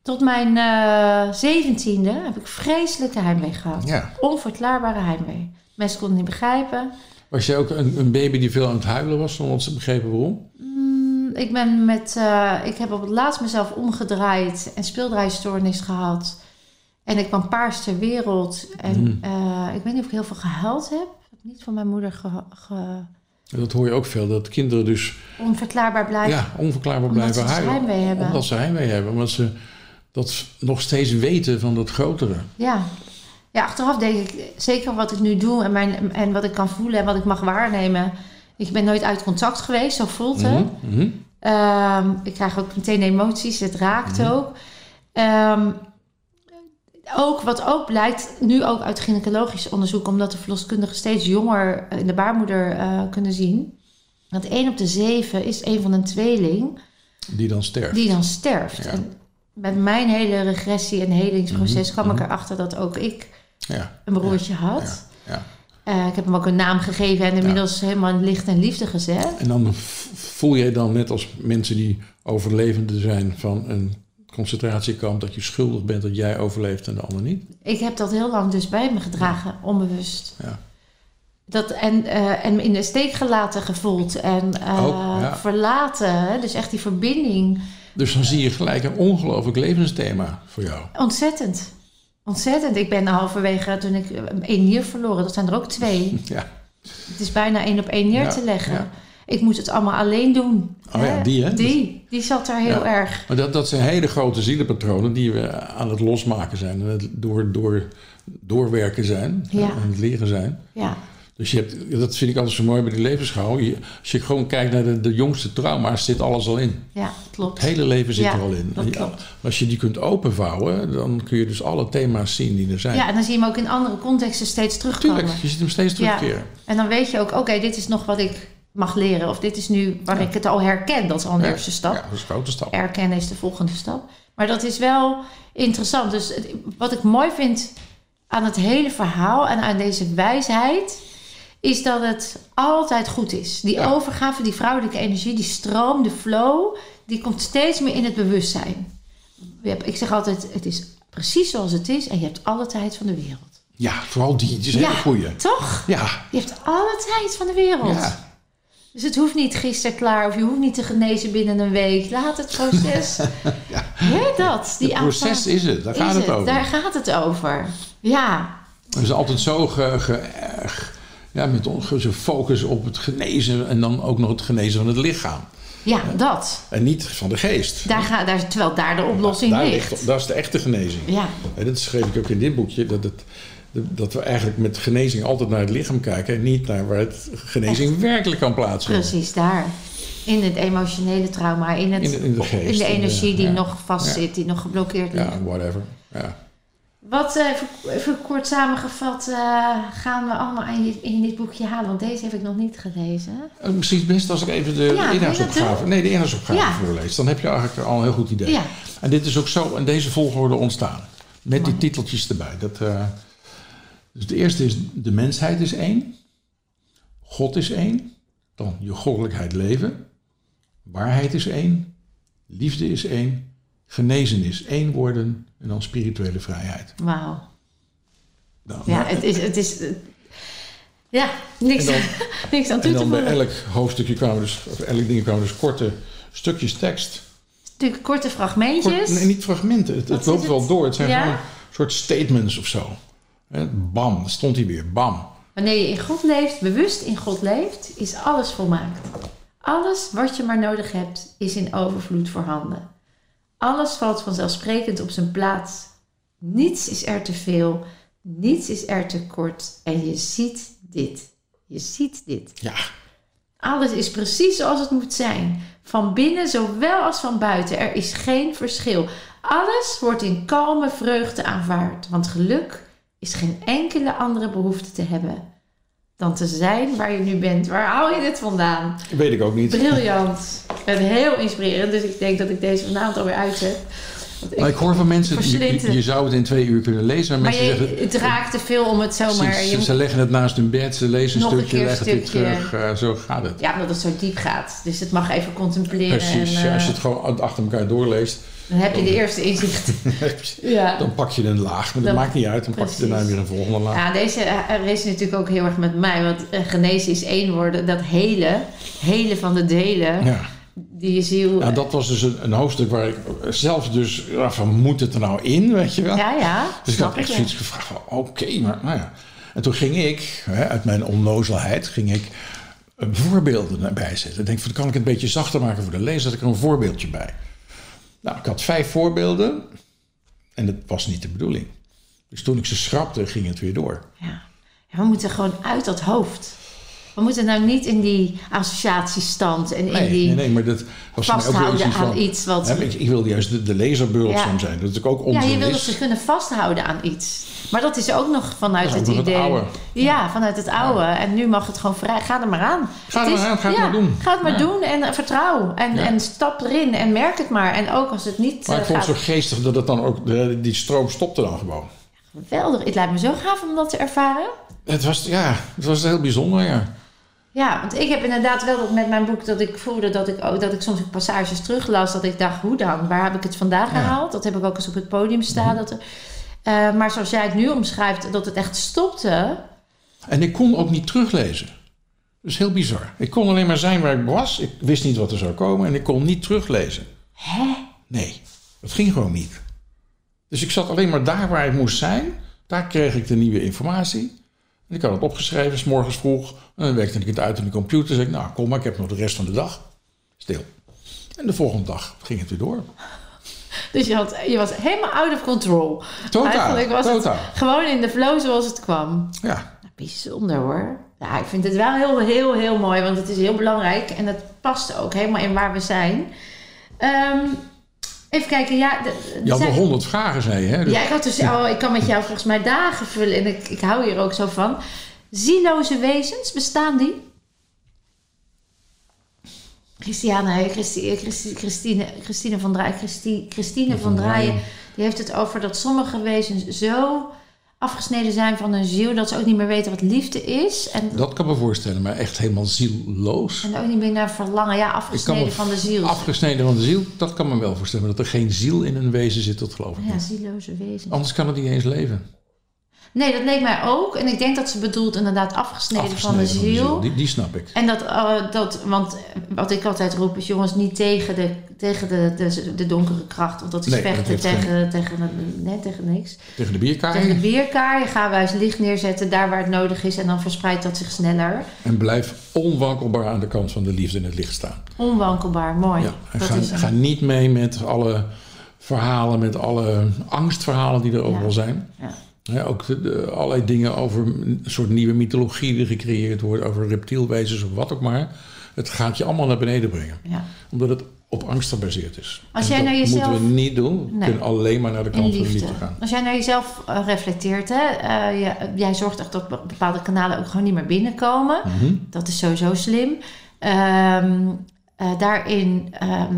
Speaker 1: Tot mijn eh zeventiende heb ik vreselijke heimwee gehad.
Speaker 2: Ja.
Speaker 1: Onverklaarbare heimwee. Mensen konden het niet begrijpen.
Speaker 2: Was jij ook een, een baby die veel aan het huilen was, zonder dat ze begrepen waarom?
Speaker 1: Mm, Ik, ben met, eh, ik heb op het laatst mezelf omgedraaid en speeldraaistoornis gehad. En ik kwam paars ter wereld. En
Speaker 2: Mm.
Speaker 1: eh, ik weet niet of ik heel veel gehuild heb. Ik heb niet van mijn moeder ge- ge-
Speaker 2: En Dat hoor je ook veel, dat kinderen dus
Speaker 1: onverklaarbaar blijven.
Speaker 2: ja, onverklaarbaar
Speaker 1: Omdat
Speaker 2: blijven
Speaker 1: ze dus
Speaker 2: huilen.
Speaker 1: heimwee hebben.
Speaker 2: Omdat ze heimwee hebben, omdat ze dat nog steeds weten van dat grotere.
Speaker 1: Ja. ja, achteraf denk ik zeker wat ik nu doe en, mijn, en wat ik kan voelen en wat ik mag waarnemen. Ik ben nooit uit contact geweest, zo voelt het.
Speaker 2: Mhm, mhm.
Speaker 1: Ehm, ik krijg ook meteen emoties, het raakt
Speaker 2: Mhm.
Speaker 1: ook. Ehm, ook wat ook blijkt, nu ook uit gynaecologisch onderzoek, omdat de verloskundigen steeds jonger eh, in de baarmoeder eh, kunnen zien. Dat 1 op de 7 is een van een tweeling
Speaker 2: Die dan sterft.
Speaker 1: die dan sterft.
Speaker 2: Ja.
Speaker 1: En met mijn hele regressie en helingsproces kwam ik erachter dat ook ik
Speaker 2: Mhm. Ja,
Speaker 1: een broertje had.
Speaker 2: ja.
Speaker 1: Eh, ik heb hem ook een naam gegeven en inmiddels helemaal in licht en liefde gezet.
Speaker 2: En dan v- voel je dan net als mensen die overlevenden zijn van een concentratiekamp, dat je schuldig bent dat jij overleeft en de ander niet.
Speaker 1: Ik heb dat heel lang dus bij me gedragen, onbewust.
Speaker 2: Ja.
Speaker 1: Dat en, eh, en me in de steek gelaten gevoeld en eh,
Speaker 2: Ook, ja.
Speaker 1: verlaten. Hè? Dus echt die verbinding.
Speaker 2: Dus dan zie je gelijk een ongelooflijk levensthema voor jou.
Speaker 1: Ontzettend. Ontzettend. Ik ben halverwege toen ik eh, één nier verloren. Dat zijn er ook
Speaker 2: (laughs)
Speaker 1: twee.
Speaker 2: Ja,
Speaker 1: Het is bijna één op één neer
Speaker 2: Ja,
Speaker 1: te leggen.
Speaker 2: ja.
Speaker 1: Ik moest het allemaal alleen doen.
Speaker 2: Oh ja, die, hè?
Speaker 1: Die, die zat daar heel
Speaker 2: Ja.
Speaker 1: erg.
Speaker 2: maar dat, dat zijn hele grote zielenpatronen die we aan het losmaken zijn en het door, door, doorwerken zijn
Speaker 1: Ja.
Speaker 2: en het leren zijn.
Speaker 1: Ja.
Speaker 2: Dus je hebt, dat vind ik altijd zo mooi bij die levensschouw. Je- als je gewoon kijkt naar de, de jongste trauma's, zit alles al in.
Speaker 1: ja, klopt.
Speaker 2: Het hele leven zit
Speaker 1: Ja,
Speaker 2: er al in.
Speaker 1: dat
Speaker 2: En
Speaker 1: klopt.
Speaker 2: Als je die kunt openvouwen, dan kun je dus alle thema's zien die er zijn.
Speaker 1: Ja, en dan zie je hem ook in andere contexten steeds terugkomen.
Speaker 2: Tuurlijk, je ziet hem steeds
Speaker 1: Ja.
Speaker 2: terugkeren.
Speaker 1: En dan weet je ook, oké, dit is nog wat ik mag leren. Of dit is nu waar ik het al herken. Dat is al een eerste stap.
Speaker 2: Ja, dat is een grote stap.
Speaker 1: Erkennen is de volgende stap. Maar dat is wel interessant. Dus het- wat ik mooi vind aan het hele verhaal en aan deze wijsheid... is dat het altijd goed is. Die
Speaker 2: Ja.
Speaker 1: overgave, die vrouwelijke energie, die stroom, de flow... die komt steeds meer in het bewustzijn. Je hebt- Ik zeg altijd, het is precies zoals het is... en je hebt alle tijd van de wereld.
Speaker 2: Ja, vooral die, die is een hele goeie.
Speaker 1: toch?
Speaker 2: Ja,
Speaker 1: Je hebt alle tijd van de wereld.
Speaker 2: ja.
Speaker 1: Dus het hoeft niet gisteren klaar of je hoeft niet te genezen binnen een week. Laat het proces.
Speaker 2: (laughs) Ja.
Speaker 1: Hè, dat. Die
Speaker 2: Het proces
Speaker 1: aanvaarding
Speaker 2: is het, daar gaat
Speaker 1: is
Speaker 2: het over.
Speaker 1: Daar gaat het over. Ja,
Speaker 2: We zijn altijd zo ge, ge- eh, ge- ja, met onze focus op het genezen en dan ook nog het genezen van het lichaam.
Speaker 1: ja dat.
Speaker 2: En niet van de geest.
Speaker 1: Daar ga, daar, terwijl daar de oplossing
Speaker 2: daar
Speaker 1: ligt.
Speaker 2: Dat is de echte genezing.
Speaker 1: Ja,
Speaker 2: En dat schreef ik ook in dit boekje, dat, het, dat we eigenlijk met genezing altijd naar het lichaam kijken en niet naar waar het genezing werkelijk kan plaatsvinden.
Speaker 1: precies daar. In het emotionele trauma, in, het,
Speaker 2: In de, in de geest.
Speaker 1: in de energie die
Speaker 2: ja.
Speaker 1: nog
Speaker 2: Ja.
Speaker 1: vastzit, die nog geblokkeerd ligt.
Speaker 2: Ja, whatever. Ja.
Speaker 1: Wat, eh, even, even kort samengevat, eh, gaan we allemaal aan je- in dit boekje halen? Want deze heb ik nog niet gelezen.
Speaker 2: Eh, Misschien het best als ik even de
Speaker 1: wil je dat
Speaker 2: inhoudsopgave... Nee, de inhoudsopgave
Speaker 1: Ja.
Speaker 2: voorlees. Dan heb je eigenlijk al een heel goed idee.
Speaker 1: Ja.
Speaker 2: En dit is ook zo in deze volgorde ontstaan. Met die titeltjes erbij. Dat, eh, dus de eerste is de mensheid is één. God is één. Dan je goddelijkheid leven. Waarheid is één. Liefde is één. Genezen is één worden. En dan spirituele vrijheid.
Speaker 1: Wauw.
Speaker 2: Nou,
Speaker 1: Ja, het is. Het is eh, ja, niks,
Speaker 2: En dan-
Speaker 1: (laughs) niks aan toe
Speaker 2: en
Speaker 1: te
Speaker 2: dan bij
Speaker 1: voegen.
Speaker 2: elk hoofdstukje kwamen dus, of elk ding kwamen dus korte stukjes tekst.
Speaker 1: Natuurlijk korte
Speaker 2: Kort-
Speaker 1: fragmentjes.
Speaker 2: nee, niet fragmenten. Het, het
Speaker 1: is
Speaker 2: loopt
Speaker 1: het?
Speaker 2: wel door. Het zijn
Speaker 1: Ja?
Speaker 2: gewoon soort statements of zo. Hè, Bam, dan stond hij weer. Bam.
Speaker 1: Wanneer je in God leeft, bewust in God leeft, is alles volmaakt. Alles wat je maar nodig hebt, is in overvloed voorhanden. Alles valt vanzelfsprekend op zijn plaats. Niets is er te veel, niets is er te kort. En je ziet dit. Je ziet dit.
Speaker 2: Ja,
Speaker 1: Alles is precies zoals het moet zijn. Van binnen zowel als van buiten. Er is geen verschil. Alles wordt in kalme vreugde aanvaard. Want geluk is geen enkele andere behoefte te hebben dan te zijn waar je nu bent. Waar haal je dit vandaan?
Speaker 2: weet ik ook niet.
Speaker 1: Briljant. Ik ben heel inspirerend, dus ik denk dat ik deze vanavond alweer uitzet. Want
Speaker 2: Maar ik hoor van mensen, je- je,
Speaker 1: verslinten.
Speaker 2: je zou het in twee uur kunnen lezen. Maar
Speaker 1: maar
Speaker 2: mensen
Speaker 1: je,
Speaker 2: zeggen,
Speaker 1: het raakt te veel om het zomaar...
Speaker 2: precies,
Speaker 1: je
Speaker 2: ze, ze leggen het naast hun bed, ze lezen een
Speaker 1: Nog een
Speaker 2: stukje,
Speaker 1: keer
Speaker 2: leggen het
Speaker 1: stukje.
Speaker 2: weer terug. eh, zo gaat het.
Speaker 1: ja, omdat het zo diep gaat. Dus het mag even contempleren.
Speaker 2: Precies,
Speaker 1: en, eh,
Speaker 2: ja, als je het gewoon achter elkaar (laughs) doorleest,
Speaker 1: Dan heb je de eerste inzicht. Ja.
Speaker 2: dan pak je een laag. Maar dat
Speaker 1: Dan-
Speaker 2: maakt niet uit, dan pak je daarna
Speaker 1: precies.
Speaker 2: weer een volgende laag.
Speaker 1: Ja, deze eh, is natuurlijk ook heel erg met mij. Want eh, genezen is één worden. Dat hele, hele van de delen,
Speaker 2: Ja.
Speaker 1: die je ziel... eh,
Speaker 2: Nou, dat was dus een, een hoofdstuk waar ik zelf dus ja, van moet het er nou in, weet je wel?
Speaker 1: ja, ja,
Speaker 2: dus ik
Speaker 1: snap
Speaker 2: had echt
Speaker 1: je.
Speaker 2: zoiets gevraagd van oké, maar nou ja. En toen ging ik, hè, uit mijn onnozelheid, ging ik eh, voorbeelden erbij zetten. Ik denk van kan ik het een beetje zachter maken voor de lezer, zet ik er een voorbeeldje bij. Nou, ik had vijf voorbeelden en dat was niet de bedoeling. Dus toen ik ze schrapte, ging het weer door.
Speaker 1: Ja. Ja, We moeten gewoon uit dat hoofd. We moeten nou niet in die associatiestand en in
Speaker 2: Nee,
Speaker 1: die...
Speaker 2: nee, nee, maar dat was voor mij ook wel
Speaker 1: vasthouden
Speaker 2: iets
Speaker 1: aan
Speaker 2: van...
Speaker 1: iets wat-
Speaker 2: hè, ik, ik wilde juist de, de lezer behulpzaam
Speaker 1: Ja.
Speaker 2: zijn. Dat is ook
Speaker 1: Ja,
Speaker 2: onzin
Speaker 1: je wil
Speaker 2: is.
Speaker 1: dat ze kunnen vasthouden aan iets. Maar dat is ook nog vanuit
Speaker 2: Dat is
Speaker 1: het
Speaker 2: ook nog het
Speaker 1: idee.
Speaker 2: oude.
Speaker 1: Ja, vanuit het oude. En nu mag het gewoon vrij. Ga er maar aan.
Speaker 2: Ga er maar aan, ga het
Speaker 1: ja,
Speaker 2: maar doen.
Speaker 1: Ga het maar
Speaker 2: Ja.
Speaker 1: doen en eh, vertrouw. En,
Speaker 2: Ja.
Speaker 1: en stap erin en merk het maar. En ook als het niet
Speaker 2: Maar
Speaker 1: eh,
Speaker 2: ik vond
Speaker 1: gaat.
Speaker 2: het zo geestig dat het dan ook, de- die stroom stopte dan gewoon.
Speaker 1: Geweldig. Het lijkt me zo gaaf om dat te ervaren.
Speaker 2: Het was, ja, het was heel bijzonder, ja.
Speaker 1: Ja, want ik heb inderdaad wel dat met mijn boek dat ik voelde dat ik, ook, dat ik soms ook passages teruglas. Dat ik dacht, hoe dan? Waar heb ik het vandaan
Speaker 2: Ja. Mhm.
Speaker 1: gehaald? Dat heb ik ook eens op het podium staan. Dat er, Eh, maar zoals jij het nu omschrijft, dat het echt stopte.
Speaker 2: En ik kon ook niet teruglezen. Dat is heel bizar. Ik kon alleen maar zijn waar ik was. Ik wist niet wat er zou komen en ik kon niet teruglezen.
Speaker 1: Hè?
Speaker 2: Nee, dat ging gewoon niet. Dus ik zat alleen maar daar waar ik moest zijn. Daar kreeg ik de nieuwe informatie. En ik had het opgeschreven, s morgens vroeg. En dan werkte ik het uit in de computer. Zeg ik, nou kom maar, ik heb nog de rest van de dag. Stil. En de volgende dag ging het weer door.
Speaker 1: Dus je, had, je was helemaal out of control.
Speaker 2: Totaal,
Speaker 1: Eigenlijk was
Speaker 2: totaal.
Speaker 1: het gewoon in de flow zoals het kwam.
Speaker 2: Ja,
Speaker 1: Nou, Bijzonder hoor. Ja, ik vind het wel heel, heel, heel mooi, want het is heel belangrijk en dat past ook helemaal in waar we zijn. Ehm, even kijken, ja. de- de-
Speaker 2: je had
Speaker 1: zijn-
Speaker 2: nog honderd vragen, zei je. Hè? Dus-
Speaker 1: Ja, ik, had dus, oh, ik kan met jou volgens mij dagen vullen en ik, ik hou hier ook zo van. Zieloze wezens, bestaan die? Christiane, Christi, eh, Christi- Christine, Christine van Draaien, Christi, Christine van Draaien, die heeft het over dat sommige wezens zo afgesneden zijn van hun ziel dat ze ook niet meer weten wat liefde is en,
Speaker 2: Dat kan me voorstellen, maar echt helemaal zielloos.
Speaker 1: en ook niet meer naar verlangen. Ja,
Speaker 2: Ik kan
Speaker 1: afgesneden
Speaker 2: me
Speaker 1: van de ziel.
Speaker 2: Afgesneden van de ziel, dat kan me wel voorstellen. Dat er geen ziel in een wezen zit, dat geloof ik
Speaker 1: ja,
Speaker 2: niet.
Speaker 1: zieloze wezens.
Speaker 2: Anders kan het niet eens leven.
Speaker 1: Nee, dat leek mij ook. En ik denk dat ze bedoelt inderdaad afgesneden, Van
Speaker 2: Afgesneden
Speaker 1: de ziel.
Speaker 2: Die, die snap ik.
Speaker 1: En dat, eh, dat, want wat ik altijd roep is jongens niet tegen de, tegen de, de, de donkere kracht. Want dat is
Speaker 2: Nee, dat
Speaker 1: vechten
Speaker 2: heeft
Speaker 1: tegen, tegen, nee, tegen niks.
Speaker 2: Tegen de bierkaai.
Speaker 1: Tegen de bierkaai gaan wij eens licht neerzetten daar waar het nodig is. En dan verspreidt dat zich sneller.
Speaker 2: En blijf onwankelbaar aan de kant van de liefde in het licht staan.
Speaker 1: Onwankelbaar, mooi.
Speaker 2: Ja, en
Speaker 1: dat
Speaker 2: ga,
Speaker 1: is hem.
Speaker 2: ga niet mee met alle verhalen, met alle angstverhalen die er overal zijn.
Speaker 1: Ja.
Speaker 2: Ja, ook de, de- allerlei dingen over een soort nieuwe mythologie die gecreëerd wordt, over reptielwezens of wat ook maar. Het gaat je allemaal naar beneden brengen,
Speaker 1: Ja.
Speaker 2: omdat het op angst gebaseerd is.
Speaker 1: Als
Speaker 2: En
Speaker 1: jij
Speaker 2: dat
Speaker 1: nou jezelf-
Speaker 2: moeten we niet doen. We
Speaker 1: Nee.
Speaker 2: kunnen alleen maar naar de
Speaker 1: En
Speaker 2: kant van de
Speaker 1: liefde.
Speaker 2: liefde gaan.
Speaker 1: Als jij naar jezelf eh, reflecteert, hè, eh, je- jij zorgt echt dat be- bepaalde kanalen ook gewoon niet meer binnenkomen.
Speaker 2: Mhm.
Speaker 1: Dat is sowieso slim. Ehm, eh, daarin ehm,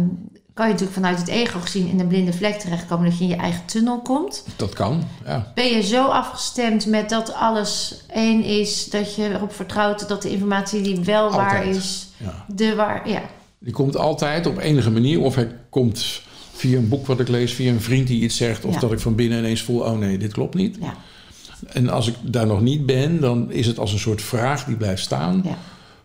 Speaker 1: kan je natuurlijk vanuit het ego gezien in een blinde vlek terechtkomen dat je in je eigen tunnel komt.
Speaker 2: Dat kan, ja.
Speaker 1: Ben je zo afgestemd met dat alles één is, dat je erop vertrouwt dat de informatie die wel waar
Speaker 2: Altijd.
Speaker 1: is,
Speaker 2: ja.
Speaker 1: de waar. Ja,
Speaker 2: Die komt altijd op enige manier. Of hij komt via een boek wat ik lees, via een vriend die iets zegt. Of
Speaker 1: Ja.
Speaker 2: dat ik van binnen ineens voel, oh nee, dit klopt niet.
Speaker 1: ja,
Speaker 2: En als ik daar nog niet ben, dan is het als een soort vraag die blijft staan.
Speaker 1: ja,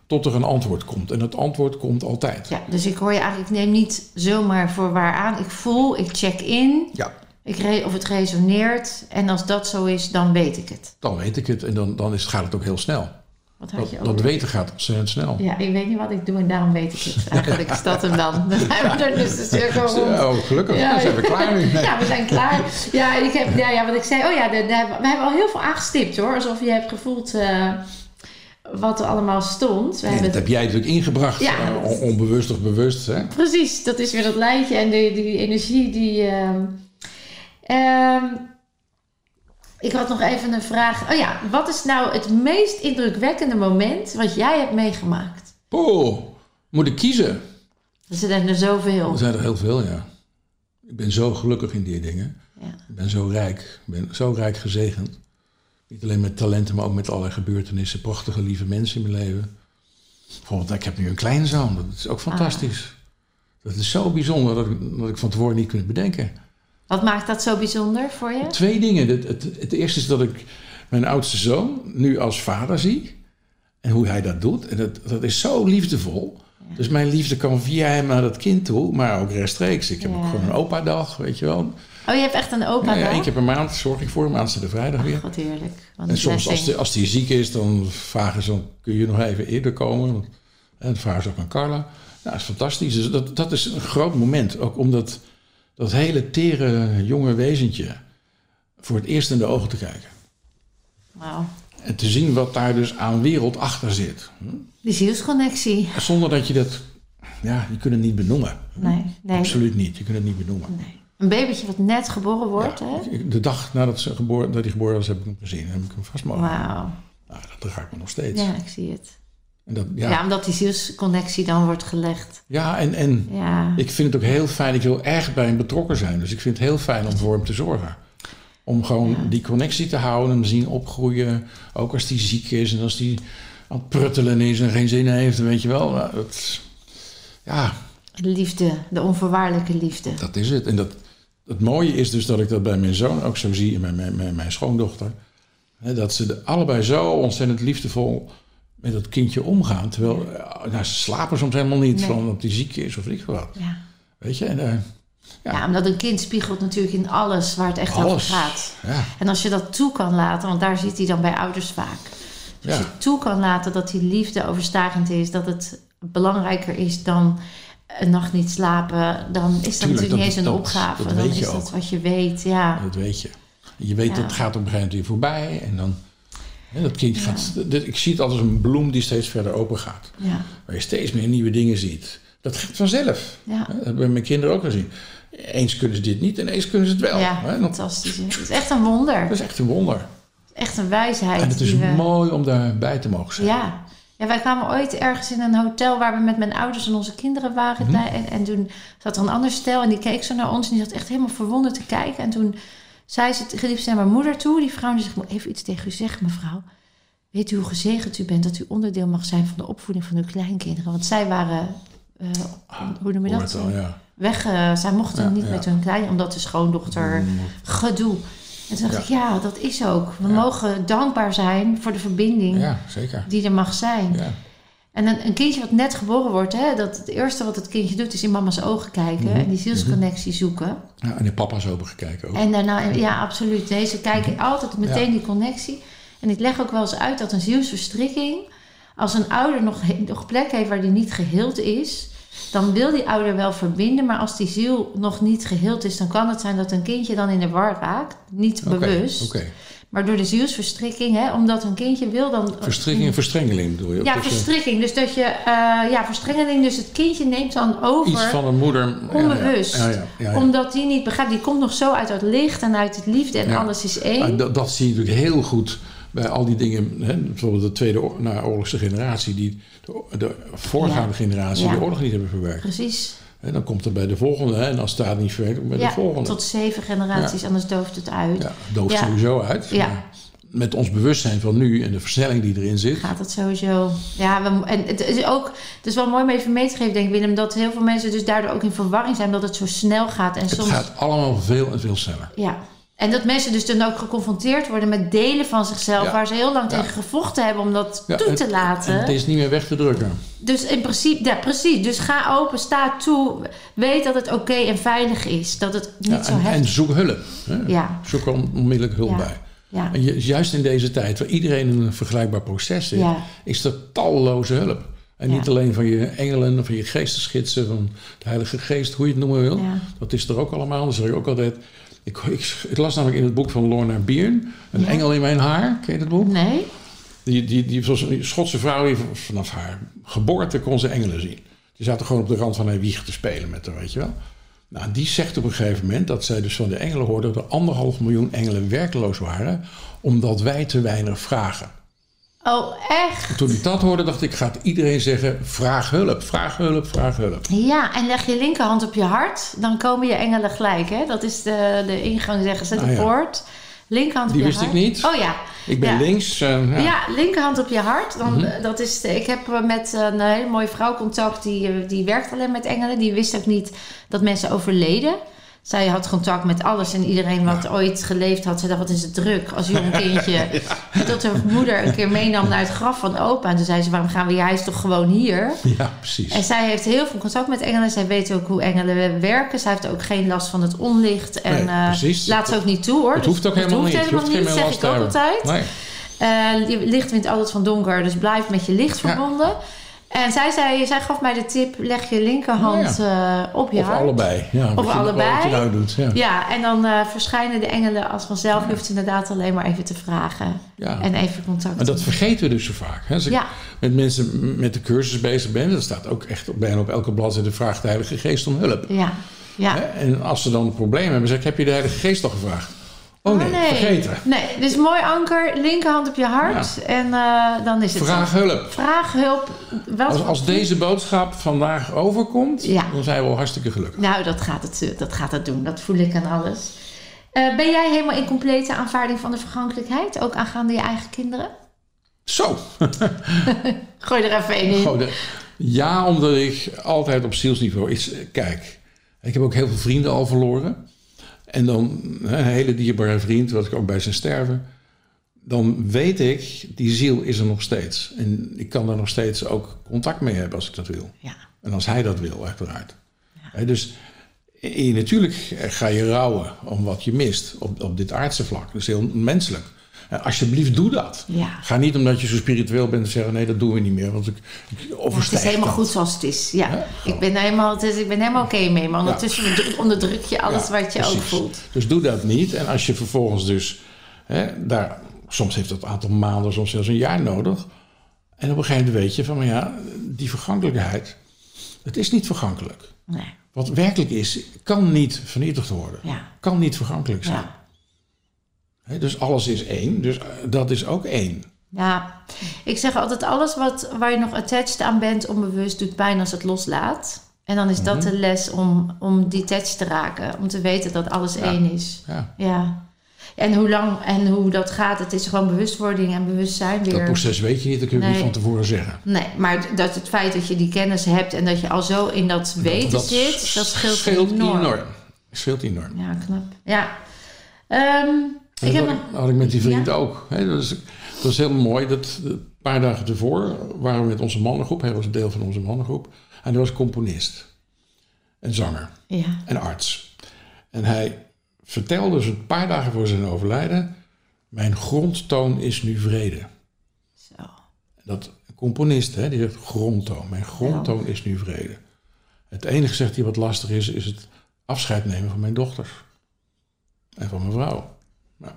Speaker 2: Tot er een antwoord komt. En het antwoord komt altijd.
Speaker 1: ja. Dus ik hoor je eigenlijk, ik neem niet zomaar voor waar aan. Ik voel, ik check in.
Speaker 2: Ja,
Speaker 1: Ik re- of het resoneert. En als dat zo is, dan weet ik het.
Speaker 2: dan weet ik het. En dan, dan is, gaat het ook heel snel.
Speaker 1: Wat had
Speaker 2: Dat,
Speaker 1: je
Speaker 2: dat
Speaker 1: over?
Speaker 2: weten gaat ontzettend snel.
Speaker 1: Ja, ik weet niet wat ik doe en daarom weet ik het. Eigenlijk is dat hem dan. Dan zijn we er dus de cirkel rond.
Speaker 2: Oh, gelukkig.
Speaker 1: Ja.
Speaker 2: Dan zijn we klaar nu. Nee.
Speaker 1: Ja, we zijn klaar. Ja, ik heb, ja, ja wat ik zei. Oh ja, de- de- we hebben al heel veel aangestipt hoor. Alsof je hebt gevoeld eh, wat er allemaal stond. We
Speaker 2: En
Speaker 1: hebben
Speaker 2: dat heb jij natuurlijk ingebracht.
Speaker 1: Ja.
Speaker 2: eh, on- onbewust of bewust. Hè?
Speaker 1: Precies, dat is weer dat lijntje en die, die energie die. ehm, ehm, ik had nog even een vraag. Oh ja, wat is nou het meest indrukwekkende moment wat jij hebt meegemaakt?
Speaker 2: Oh, moet ik kiezen?
Speaker 1: Er zijn er zoveel.
Speaker 2: Er zijn er heel veel, ja. Ik ben zo gelukkig in die dingen.
Speaker 1: Ja.
Speaker 2: Ik ben zo rijk. Ik ben zo rijk gezegend. Niet alleen met talenten, maar ook met allerlei gebeurtenissen. Prachtige, lieve mensen in mijn leven. Bijvoorbeeld, ik heb nu een kleinzoon. Dat is ook fantastisch. Dat is zo bijzonder dat ik, dat ik van tevoren niet kon bedenken.
Speaker 1: Wat maakt dat zo bijzonder voor je?
Speaker 2: Twee dingen. Het, het, het eerste is dat ik mijn oudste zoon nu als vader zie. En hoe hij dat doet. En dat, dat is zo liefdevol. Dus mijn liefde kan via hem naar dat kind toe, maar ook rechtstreeks. Ik heb
Speaker 1: Ja.
Speaker 2: ook gewoon een opa-dag, weet je wel.
Speaker 1: Oh, je hebt echt een opa
Speaker 2: Nou Ja, ja,
Speaker 1: daar? Oh,
Speaker 2: één keer per maand zorg ik voor hem, aanstaande vrijdag weer.
Speaker 1: Wat heerlijk. Wat een
Speaker 2: En soms als
Speaker 1: blessing.
Speaker 2: hij als die ziek is, dan vragen ze, dan kun je nog even eerder komen. Want- En dan vragen ze ook aan Carla. Nou, dat is fantastisch. Dus dat, dat is een groot moment. Ook omdat dat hele tere jonge wezentje voor het eerst in de ogen te kijken.
Speaker 1: Wauw.
Speaker 2: En te zien wat daar dus aan wereld achter zit.
Speaker 1: Die zielsconnectie.
Speaker 2: Zonder dat je dat, ja, je kunt het niet benoemen.
Speaker 1: Nee, nee.
Speaker 2: Absoluut niet, je kunt het niet benoemen.
Speaker 1: nee. Een babytje wat net geboren wordt,
Speaker 2: Ja,
Speaker 1: hè?
Speaker 2: ik- ik- de dag nadat ze geboren, dat hij geboren was, heb ik hem gezien. En heb ik hem vast mogen.
Speaker 1: Wauw.
Speaker 2: Nou, dat raakt me nog steeds.
Speaker 1: Ja, ik zie het.
Speaker 2: En dat,
Speaker 1: Ja.
Speaker 2: ja. Ja.
Speaker 1: omdat die zielsconnectie dan wordt gelegd.
Speaker 2: en, en
Speaker 1: Ja.
Speaker 2: ik vind het ook heel fijn. Ik wil erg bij hem betrokken zijn. Dus ik vind het heel fijn om voor hem te zorgen. Om gewoon die connectie te houden, hem zien opgroeien. Ook als die ziek is en als die aan het pruttelen is en geen zin heeft, weet je wel. Nou, dat- ja,
Speaker 1: Liefde, de onvoorwaardelijke liefde.
Speaker 2: dat is het. En dat, het mooie is dus dat ik dat bij mijn zoon ook zo zie en bij mijn, mijn, mijn schoondochter. Hè, dat ze de- allebei zo ontzettend liefdevol met dat kindje omgaan. Terwijl eh, nou, ze slapen soms helemaal niet,
Speaker 1: Nee.
Speaker 2: van omdat die ziek is of weet ik wat.
Speaker 1: Ja.
Speaker 2: Weet je, en, eh,
Speaker 1: Ja.
Speaker 2: Ja.
Speaker 1: omdat een kind spiegelt natuurlijk in alles waar het echt over
Speaker 2: Alles.
Speaker 1: gaat.
Speaker 2: ja,
Speaker 1: En als je dat toe kan laten, want daar zit hij dan bij ouders vaak. Dus
Speaker 2: Ja.
Speaker 1: Als je toe kan laten dat die liefde overstagend is, dat het belangrijker is dan een nacht niet slapen, dan is dat natuurlijk
Speaker 2: dat-
Speaker 1: niet eens een
Speaker 2: dat-
Speaker 1: opgave.
Speaker 2: dat
Speaker 1: dan
Speaker 2: weet
Speaker 1: is
Speaker 2: je
Speaker 1: dat
Speaker 2: ook.
Speaker 1: wat je weet. Ja.
Speaker 2: dat weet je. En je weet
Speaker 1: Ja.
Speaker 2: dat het gaat op een gegeven moment weer voorbij. En dan, hè, dat kind gaat, dit- ik zie het als een bloem die steeds verder open gaat.
Speaker 1: Ja.
Speaker 2: Waar je steeds meer nieuwe dingen ziet. Dat gaat vanzelf.
Speaker 1: Ja.
Speaker 2: Hè, Dat hebben mijn kinderen ook gezien. Eens kunnen ze dit niet en eens kunnen ze het wel.
Speaker 1: ja,
Speaker 2: hè. Dat
Speaker 1: fantastisch. hè. Het is echt een wonder.
Speaker 2: dat is echt een wonder.
Speaker 1: Echt een wijsheid.
Speaker 2: En het is
Speaker 1: die we-
Speaker 2: mooi om daarbij te mogen zijn.
Speaker 1: Ja. ja, wij kwamen ooit ergens in een hotel waar we met mijn ouders en onze kinderen waren.
Speaker 2: Mhm.
Speaker 1: En, en toen zat er een ander stel en die keek zo naar ons en die zat echt helemaal verwonderd te kijken. En toen zei ze, geliep ze naar mijn moeder toe, die vrouw, en die zegt, ik moet even iets tegen u zeggen mevrouw. Weet u hoe gezegend u bent dat u onderdeel mag zijn van de opvoeding van uw kleinkinderen? Want zij waren, eh, hoe noem je
Speaker 2: Hoor
Speaker 1: dat?
Speaker 2: het al, Ah, ja.
Speaker 1: weg. eh, zij mochten
Speaker 2: Ja,
Speaker 1: niet
Speaker 2: ja. Mm.
Speaker 1: met hun klein, omdat de schoondochter gedoe. En toen dacht
Speaker 2: Ja.
Speaker 1: ik, ja, dat is ook. We
Speaker 2: Ja.
Speaker 1: mogen dankbaar zijn voor de verbinding
Speaker 2: ja, zeker.
Speaker 1: die er mag zijn.
Speaker 2: Ja.
Speaker 1: En een, een kindje wat net geboren wordt, hè, dat het eerste wat het kindje doet is in mama's ogen kijken
Speaker 2: Mhm.
Speaker 1: en die zielsconnectie zoeken.
Speaker 2: Ja, en de papa's open gekeken ook.
Speaker 1: En daarna, ja, absoluut. Nee, ze kijken altijd meteen die connectie. En ik leg ook wel eens uit dat een zielsverstrikking, als een ouder nog, he- nog plek heeft waar die niet geheeld is, dan wil die ouder wel verbinden, maar als die ziel nog niet geheeld is, dan kan het zijn dat een kindje dan in de war raakt, niet
Speaker 2: Oké,
Speaker 1: bewust,
Speaker 2: Oké.
Speaker 1: maar door de zielsverstrikking, hè, omdat een kindje wil dan
Speaker 2: Verstrikking en verstrengeling bedoel je?
Speaker 1: ja,
Speaker 2: Dat je
Speaker 1: verstrikking. Dus dat je, eh, ja, verstrengeling. Dus het kindje neemt dan over.
Speaker 2: Iets van een moeder. ja, ja.
Speaker 1: Onbewust.
Speaker 2: Ja, ja, ja, ja.
Speaker 1: Omdat die niet begrijpt. Die komt nog zo uit het licht en uit het liefde. En
Speaker 2: Ja.
Speaker 1: alles is
Speaker 2: Ah,
Speaker 1: één.
Speaker 2: dat, dat zie je natuurlijk heel goed bij al die dingen. Hè, bijvoorbeeld de tweede oor- naoorlogse generatie, die de, de voorgaande
Speaker 1: Ja.
Speaker 2: generatie
Speaker 1: Ja.
Speaker 2: de oorlog niet hebben verwerkt.
Speaker 1: Precies.
Speaker 2: En dan komt er bij de volgende, hè, en als staat niet verwerkt, bij
Speaker 1: Ja,
Speaker 2: de volgende.
Speaker 1: tot zeven generaties. Anders dooft het uit.
Speaker 2: Ja, dooft
Speaker 1: Ja.
Speaker 2: sowieso uit.
Speaker 1: Ja.
Speaker 2: maar Met ons bewustzijn van nu en de versnelling die erin zit.
Speaker 1: Gaat het sowieso. Ja, we, en het is ook. Het is wel mooi om even mee te geven, denk ik, Willem. Dat heel veel mensen dus daardoor ook in verwarring zijn. Omdat het zo snel gaat. En
Speaker 2: Het
Speaker 1: soms.
Speaker 2: gaat allemaal veel en veel sneller.
Speaker 1: Ja. En dat mensen dus dan ook geconfronteerd worden met delen van zichzelf.
Speaker 2: Ja.
Speaker 1: Waar ze heel lang
Speaker 2: Ja.
Speaker 1: tegen gevochten hebben om dat
Speaker 2: Ja,
Speaker 1: toe
Speaker 2: het-
Speaker 1: te laten.
Speaker 2: En het is niet meer weg te drukken.
Speaker 1: Dus in principe, ja precies. Dus ga open, sta toe. Weet dat het oké en veilig is. Dat het niet
Speaker 2: Ja,
Speaker 1: zo
Speaker 2: en, en
Speaker 1: heftig
Speaker 2: zoek hulp. Hè.
Speaker 1: Ja.
Speaker 2: Zoek er onmiddellijk hulp
Speaker 1: Ja.
Speaker 2: bij.
Speaker 1: Ja.
Speaker 2: En ju- juist in deze tijd, waar iedereen in een vergelijkbaar proces zit,
Speaker 1: Ja.
Speaker 2: is er talloze hulp. En
Speaker 1: Ja.
Speaker 2: niet alleen van je engelen, van je geestesgidsen, van de Heilige Geest, hoe je het noemen wil.
Speaker 1: Ja.
Speaker 2: Dat is er ook allemaal. Dat zeg ik ook altijd. Ik, ik, ik las namelijk in het boek van Lorna Biern, Een engel in mijn haar. Ken je dat boek?
Speaker 1: Nee?
Speaker 2: Die, die, die was een Schotse vrouw, die v- vanaf haar geboorte kon ze engelen zien. Die zaten gewoon op de rand van haar wieg te spelen met haar, weet je wel. Nou, die zegt op een gegeven moment dat zij dus van de engelen hoorde dat er anderhalf miljoen engelen werkloos waren, omdat wij te weinig vragen.
Speaker 1: Oh, echt?
Speaker 2: Toen ik dat hoorde, dacht ik, gaat iedereen zeggen, vraag hulp, vraag hulp, vraag hulp.
Speaker 1: Ja, en leg je linkerhand op je hart. Dan komen je engelen gelijk. Hè? Dat is de, de ingang, zeggen ze. De
Speaker 2: Ah, ja.
Speaker 1: poort. Linkerhand
Speaker 2: Die
Speaker 1: op je
Speaker 2: wist ik
Speaker 1: hart.
Speaker 2: niet.
Speaker 1: Oh ja.
Speaker 2: Ik ben
Speaker 1: ja.
Speaker 2: links. eh, ja. Mhm.
Speaker 1: Ja. linkerhand op je hart. Dan, eh, dat is, de- ik heb eh, met een hele mooie vrouw contact. Die, eh, die werkt alleen met engelen. Die wist ook niet dat mensen overleden. Zij had contact met alles en iedereen wat ooit geleefd had. Ze dacht, wat is het druk als jong
Speaker 2: (laughs)
Speaker 1: kindje. En Tot haar moeder een keer meenam naar het graf van opa. En toen zei ze, waarom gaan we hier? Hij is toch gewoon hier?
Speaker 2: Ja, precies.
Speaker 1: En zij heeft heel veel contact met engelen. Zij weet ook hoe engelen werken. Zij heeft ook geen last van het onlicht. En
Speaker 2: Nee,
Speaker 1: eh,
Speaker 2: precies.
Speaker 1: laat ze ook niet toe hoor.
Speaker 2: het hoeft ook
Speaker 1: Dus
Speaker 2: helemaal
Speaker 1: hoeft
Speaker 2: niet. Je
Speaker 1: helemaal
Speaker 2: hoeft geen
Speaker 1: niet,
Speaker 2: meer
Speaker 1: zeg
Speaker 2: last
Speaker 1: ik
Speaker 2: te
Speaker 1: ook
Speaker 2: hebben.
Speaker 1: altijd.
Speaker 2: Nee.
Speaker 1: Eh, je licht wint altijd van donker, dus blijf met je licht
Speaker 2: Ja.
Speaker 1: verbonden. En zij, zei, zij gaf mij de tip: leg je
Speaker 2: Oh
Speaker 1: linkerhand eh, op je
Speaker 2: Of
Speaker 1: hart.
Speaker 2: allebei. Ja, wat je-
Speaker 1: allebei.
Speaker 2: Wat je nou doet. Ja.
Speaker 1: Ja, en dan eh, verschijnen de engelen als vanzelf. Je hoeft inderdaad alleen maar even te vragen
Speaker 2: Ja.
Speaker 1: en even contact
Speaker 2: Maar dat
Speaker 1: te-
Speaker 2: vergeten we dus zo vaak. Hè? Als ik
Speaker 1: Ja.
Speaker 2: met mensen m- met de cursus bezig ben, dan staat ook echt op, bijna op elke bladzijde vraagt de Heilige Geest om hulp.
Speaker 1: Ja, ja.
Speaker 2: Hè? En als ze dan een probleem hebben, zeg ik, heb je de Heilige Geest al gevraagd? Oh nee, vergeten.
Speaker 1: Nee, dus mooi anker, linkerhand op je hart. En eh, dan is het.
Speaker 2: Vraag hulp.
Speaker 1: Vraag hulp. Wat-
Speaker 2: Als, als deze boodschap vandaag overkomt,
Speaker 1: Ja.
Speaker 2: dan zijn we al hartstikke gelukkig.
Speaker 1: Nou, dat gaat, het, eh, dat gaat het doen. Dat voel ik aan alles. Eh, ben jij helemaal in complete aanvaarding van de vergankelijkheid? Ook aangaande je eigen kinderen?
Speaker 2: Zo.
Speaker 1: Gooi er even één in.
Speaker 2: Goh, de- ja, omdat ik altijd op zielsniveau is. Kijk, ik heb ook heel veel vrienden al verloren. En dan hè, een hele dierbare vriend, wat ik ook bij zijn sterven. Dan weet ik, die ziel is er nog steeds. En ik kan daar nog steeds ook contact mee hebben als ik dat wil.
Speaker 1: Ja.
Speaker 2: En als hij dat wil, uiteraard. Hè, dus eh, natuurlijk ga je rouwen om wat je mist op, op dit aardse vlak. Dat is heel menselijk. Eh, Alsjeblieft, doe dat.
Speaker 1: Ja.
Speaker 2: Ga niet omdat je zo spiritueel bent zeggen: nee, dat doen we niet meer. Want ik, ik
Speaker 1: Het is
Speaker 2: overstijg
Speaker 1: helemaal
Speaker 2: dat.
Speaker 1: goed zoals het is. Ja.
Speaker 2: Ja,
Speaker 1: ik ben daar helemaal, dus ik ben helemaal oké mee. Maar ondertussen onderdruk- onderdruk je alles
Speaker 2: Ja,
Speaker 1: wat je ook
Speaker 2: precies.
Speaker 1: voelt.
Speaker 2: Dus doe dat niet. En als je vervolgens dus hè, daar, soms heeft dat een aantal maanden, soms zelfs een jaar nodig. En op een gegeven moment weet je van, maar ja, die vergankelijkheid, het is niet vergankelijk.
Speaker 1: Nee.
Speaker 2: Wat werkelijk is, kan niet vernietigd worden.
Speaker 1: Ja.
Speaker 2: Kan niet vergankelijk zijn.
Speaker 1: Ja.
Speaker 2: Hè, dus alles is één, dus eh, dat is ook één.
Speaker 1: ja. Ik zeg altijd, alles wat, waar je nog attached aan bent, onbewust, doet pijn als het loslaat. En dan is
Speaker 2: Mhm.
Speaker 1: dat de les om, om detached te raken. Om te weten dat alles één is.
Speaker 2: Ja,
Speaker 1: Ja. En hoe lang en hoe dat gaat, het is gewoon bewustwording en bewustzijn weer.
Speaker 2: dat proces weet je niet, dat kun je
Speaker 1: Nee.
Speaker 2: niet van tevoren zeggen.
Speaker 1: Nee, maar dat het feit dat je die kennis hebt en dat je al zo in dat weten
Speaker 2: dat
Speaker 1: zit, dat scheelt,
Speaker 2: enorm. Scheelt enorm.
Speaker 1: Ja, knap. Ja. Ehm, ik heb
Speaker 2: dat
Speaker 1: nog-
Speaker 2: had ik met die vriend ook. Hè, dat, is, dat is heel mooi. Dat, een paar dagen tevoor waren we met onze mannengroep. Hij was een deel van onze mannengroep. En hij was componist. En zanger.
Speaker 1: Ja.
Speaker 2: En arts. En hij vertelde dus een paar dagen voor zijn overlijden... Mijn grondtoon is nu vrede.
Speaker 1: Zo.
Speaker 2: Dat een componist, hè, die zegt grondtoon. Mijn grondtoon is nu vrede. Het enige, zegt hij, wat lastig is, is het afscheid nemen van mijn dochters. En van mijn vrouw. Nou,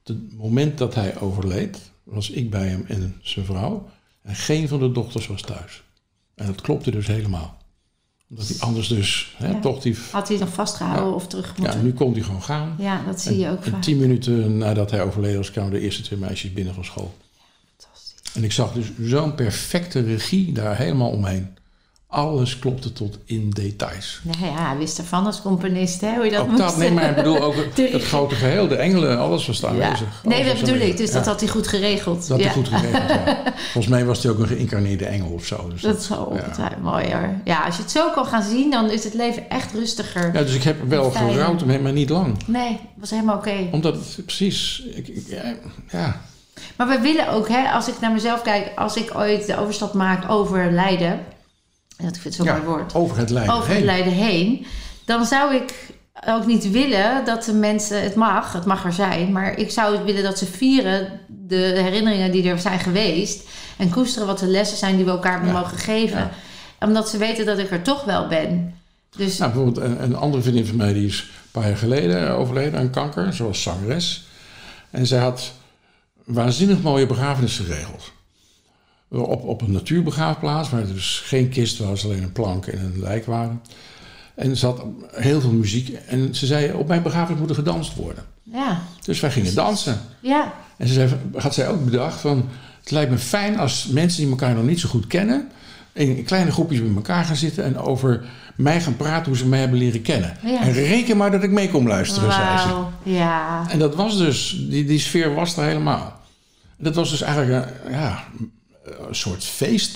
Speaker 2: op het moment dat hij overleed, was ik bij hem en zijn vrouw. En geen van de dochters was thuis. En dat klopte dus helemaal. Omdat hij anders dus, hè,
Speaker 1: Ja.
Speaker 2: toch die...
Speaker 1: Had hij nog vastgehouden of terug
Speaker 2: Ja,
Speaker 1: moeten?
Speaker 2: nu kon hij gewoon gaan.
Speaker 1: Ja, dat zie je ook
Speaker 2: En
Speaker 1: vaak.
Speaker 2: tien minuten nadat hij overleden was, kwamen de eerste twee meisjes binnen van school.
Speaker 1: Fantastisch.
Speaker 2: En ik zag dus zo'n perfecte regie daar helemaal omheen. Alles klopte tot in details.
Speaker 1: Nou ja, hij wist ervan als componist, hè, hoe je dat
Speaker 2: Ook
Speaker 1: moest.
Speaker 2: Oh, dat, nee, (laughs) maar ik
Speaker 1: (laughs)
Speaker 2: bedoel ook het,
Speaker 1: De
Speaker 2: het grote geheel, de engelen, alles was daar
Speaker 1: Ja.
Speaker 2: aanwezig.
Speaker 1: Nee,
Speaker 2: Alles
Speaker 1: dat
Speaker 2: was
Speaker 1: bedoel ik.
Speaker 2: aanwezig.
Speaker 1: Dus dat
Speaker 2: Ja,
Speaker 1: had hij goed geregeld.
Speaker 2: dat
Speaker 1: ja.
Speaker 2: hij goed geregeld
Speaker 1: (laughs)
Speaker 2: ja. Volgens mij was hij ook een geïncarneerde engel of zo. Dus
Speaker 1: Dat is wel ongetwijfeld mooi hoor. Ja, als je het zo kan gaan zien, dan is het leven echt rustiger.
Speaker 2: Ja, dus ik heb wel
Speaker 1: Fijn.
Speaker 2: gerouwd ermee, maar niet lang.
Speaker 1: Nee, was helemaal oké.
Speaker 2: Omdat het precies, ik, ik- ja, ja,
Speaker 1: Maar we willen ook, hè, als ik naar mezelf kijk, als ik ooit de overstap maak over lijden, en dat ik vind het zo'n
Speaker 2: ja,
Speaker 1: mooi woord,
Speaker 2: over het lijden
Speaker 1: over het
Speaker 2: heen.
Speaker 1: lijden heen, dan zou ik ook niet willen dat de mensen, het mag, het mag er zijn, maar ik zou het willen dat ze vieren de herinneringen die er zijn geweest en koesteren wat de lessen zijn die we elkaar hebben
Speaker 2: Ja,
Speaker 1: mogen geven.
Speaker 2: ja.
Speaker 1: Omdat ze weten dat ik er toch wel ben. Dus
Speaker 2: Nou, bijvoorbeeld een, een andere vriendin van mij, die is een paar jaar geleden overleden aan kanker. Ze was zangeres. En zij had een waanzinnig mooie begrafenis geregeld. Op, op een natuurbegraafplaats, waar dus geen kist was, alleen een plank en een lijk waren. En ze had heel veel muziek. En ze zei, op mijn begrafenis moet er gedanst worden.
Speaker 1: ja,
Speaker 2: Dus wij gingen dansen.
Speaker 1: ja,
Speaker 2: En ze zei, had zij ook bedacht van... Het lijkt me fijn als mensen die elkaar nog niet zo goed kennen... in kleine groepjes met elkaar gaan zitten... en over mij gaan praten hoe ze mij hebben leren kennen.
Speaker 1: Ja.
Speaker 2: En reken maar dat ik mee kom luisteren, zei ze.
Speaker 1: wauw, ja.
Speaker 2: En dat was dus... Die, die sfeer was er helemaal. Dat was dus eigenlijk een, ja, een soort feest.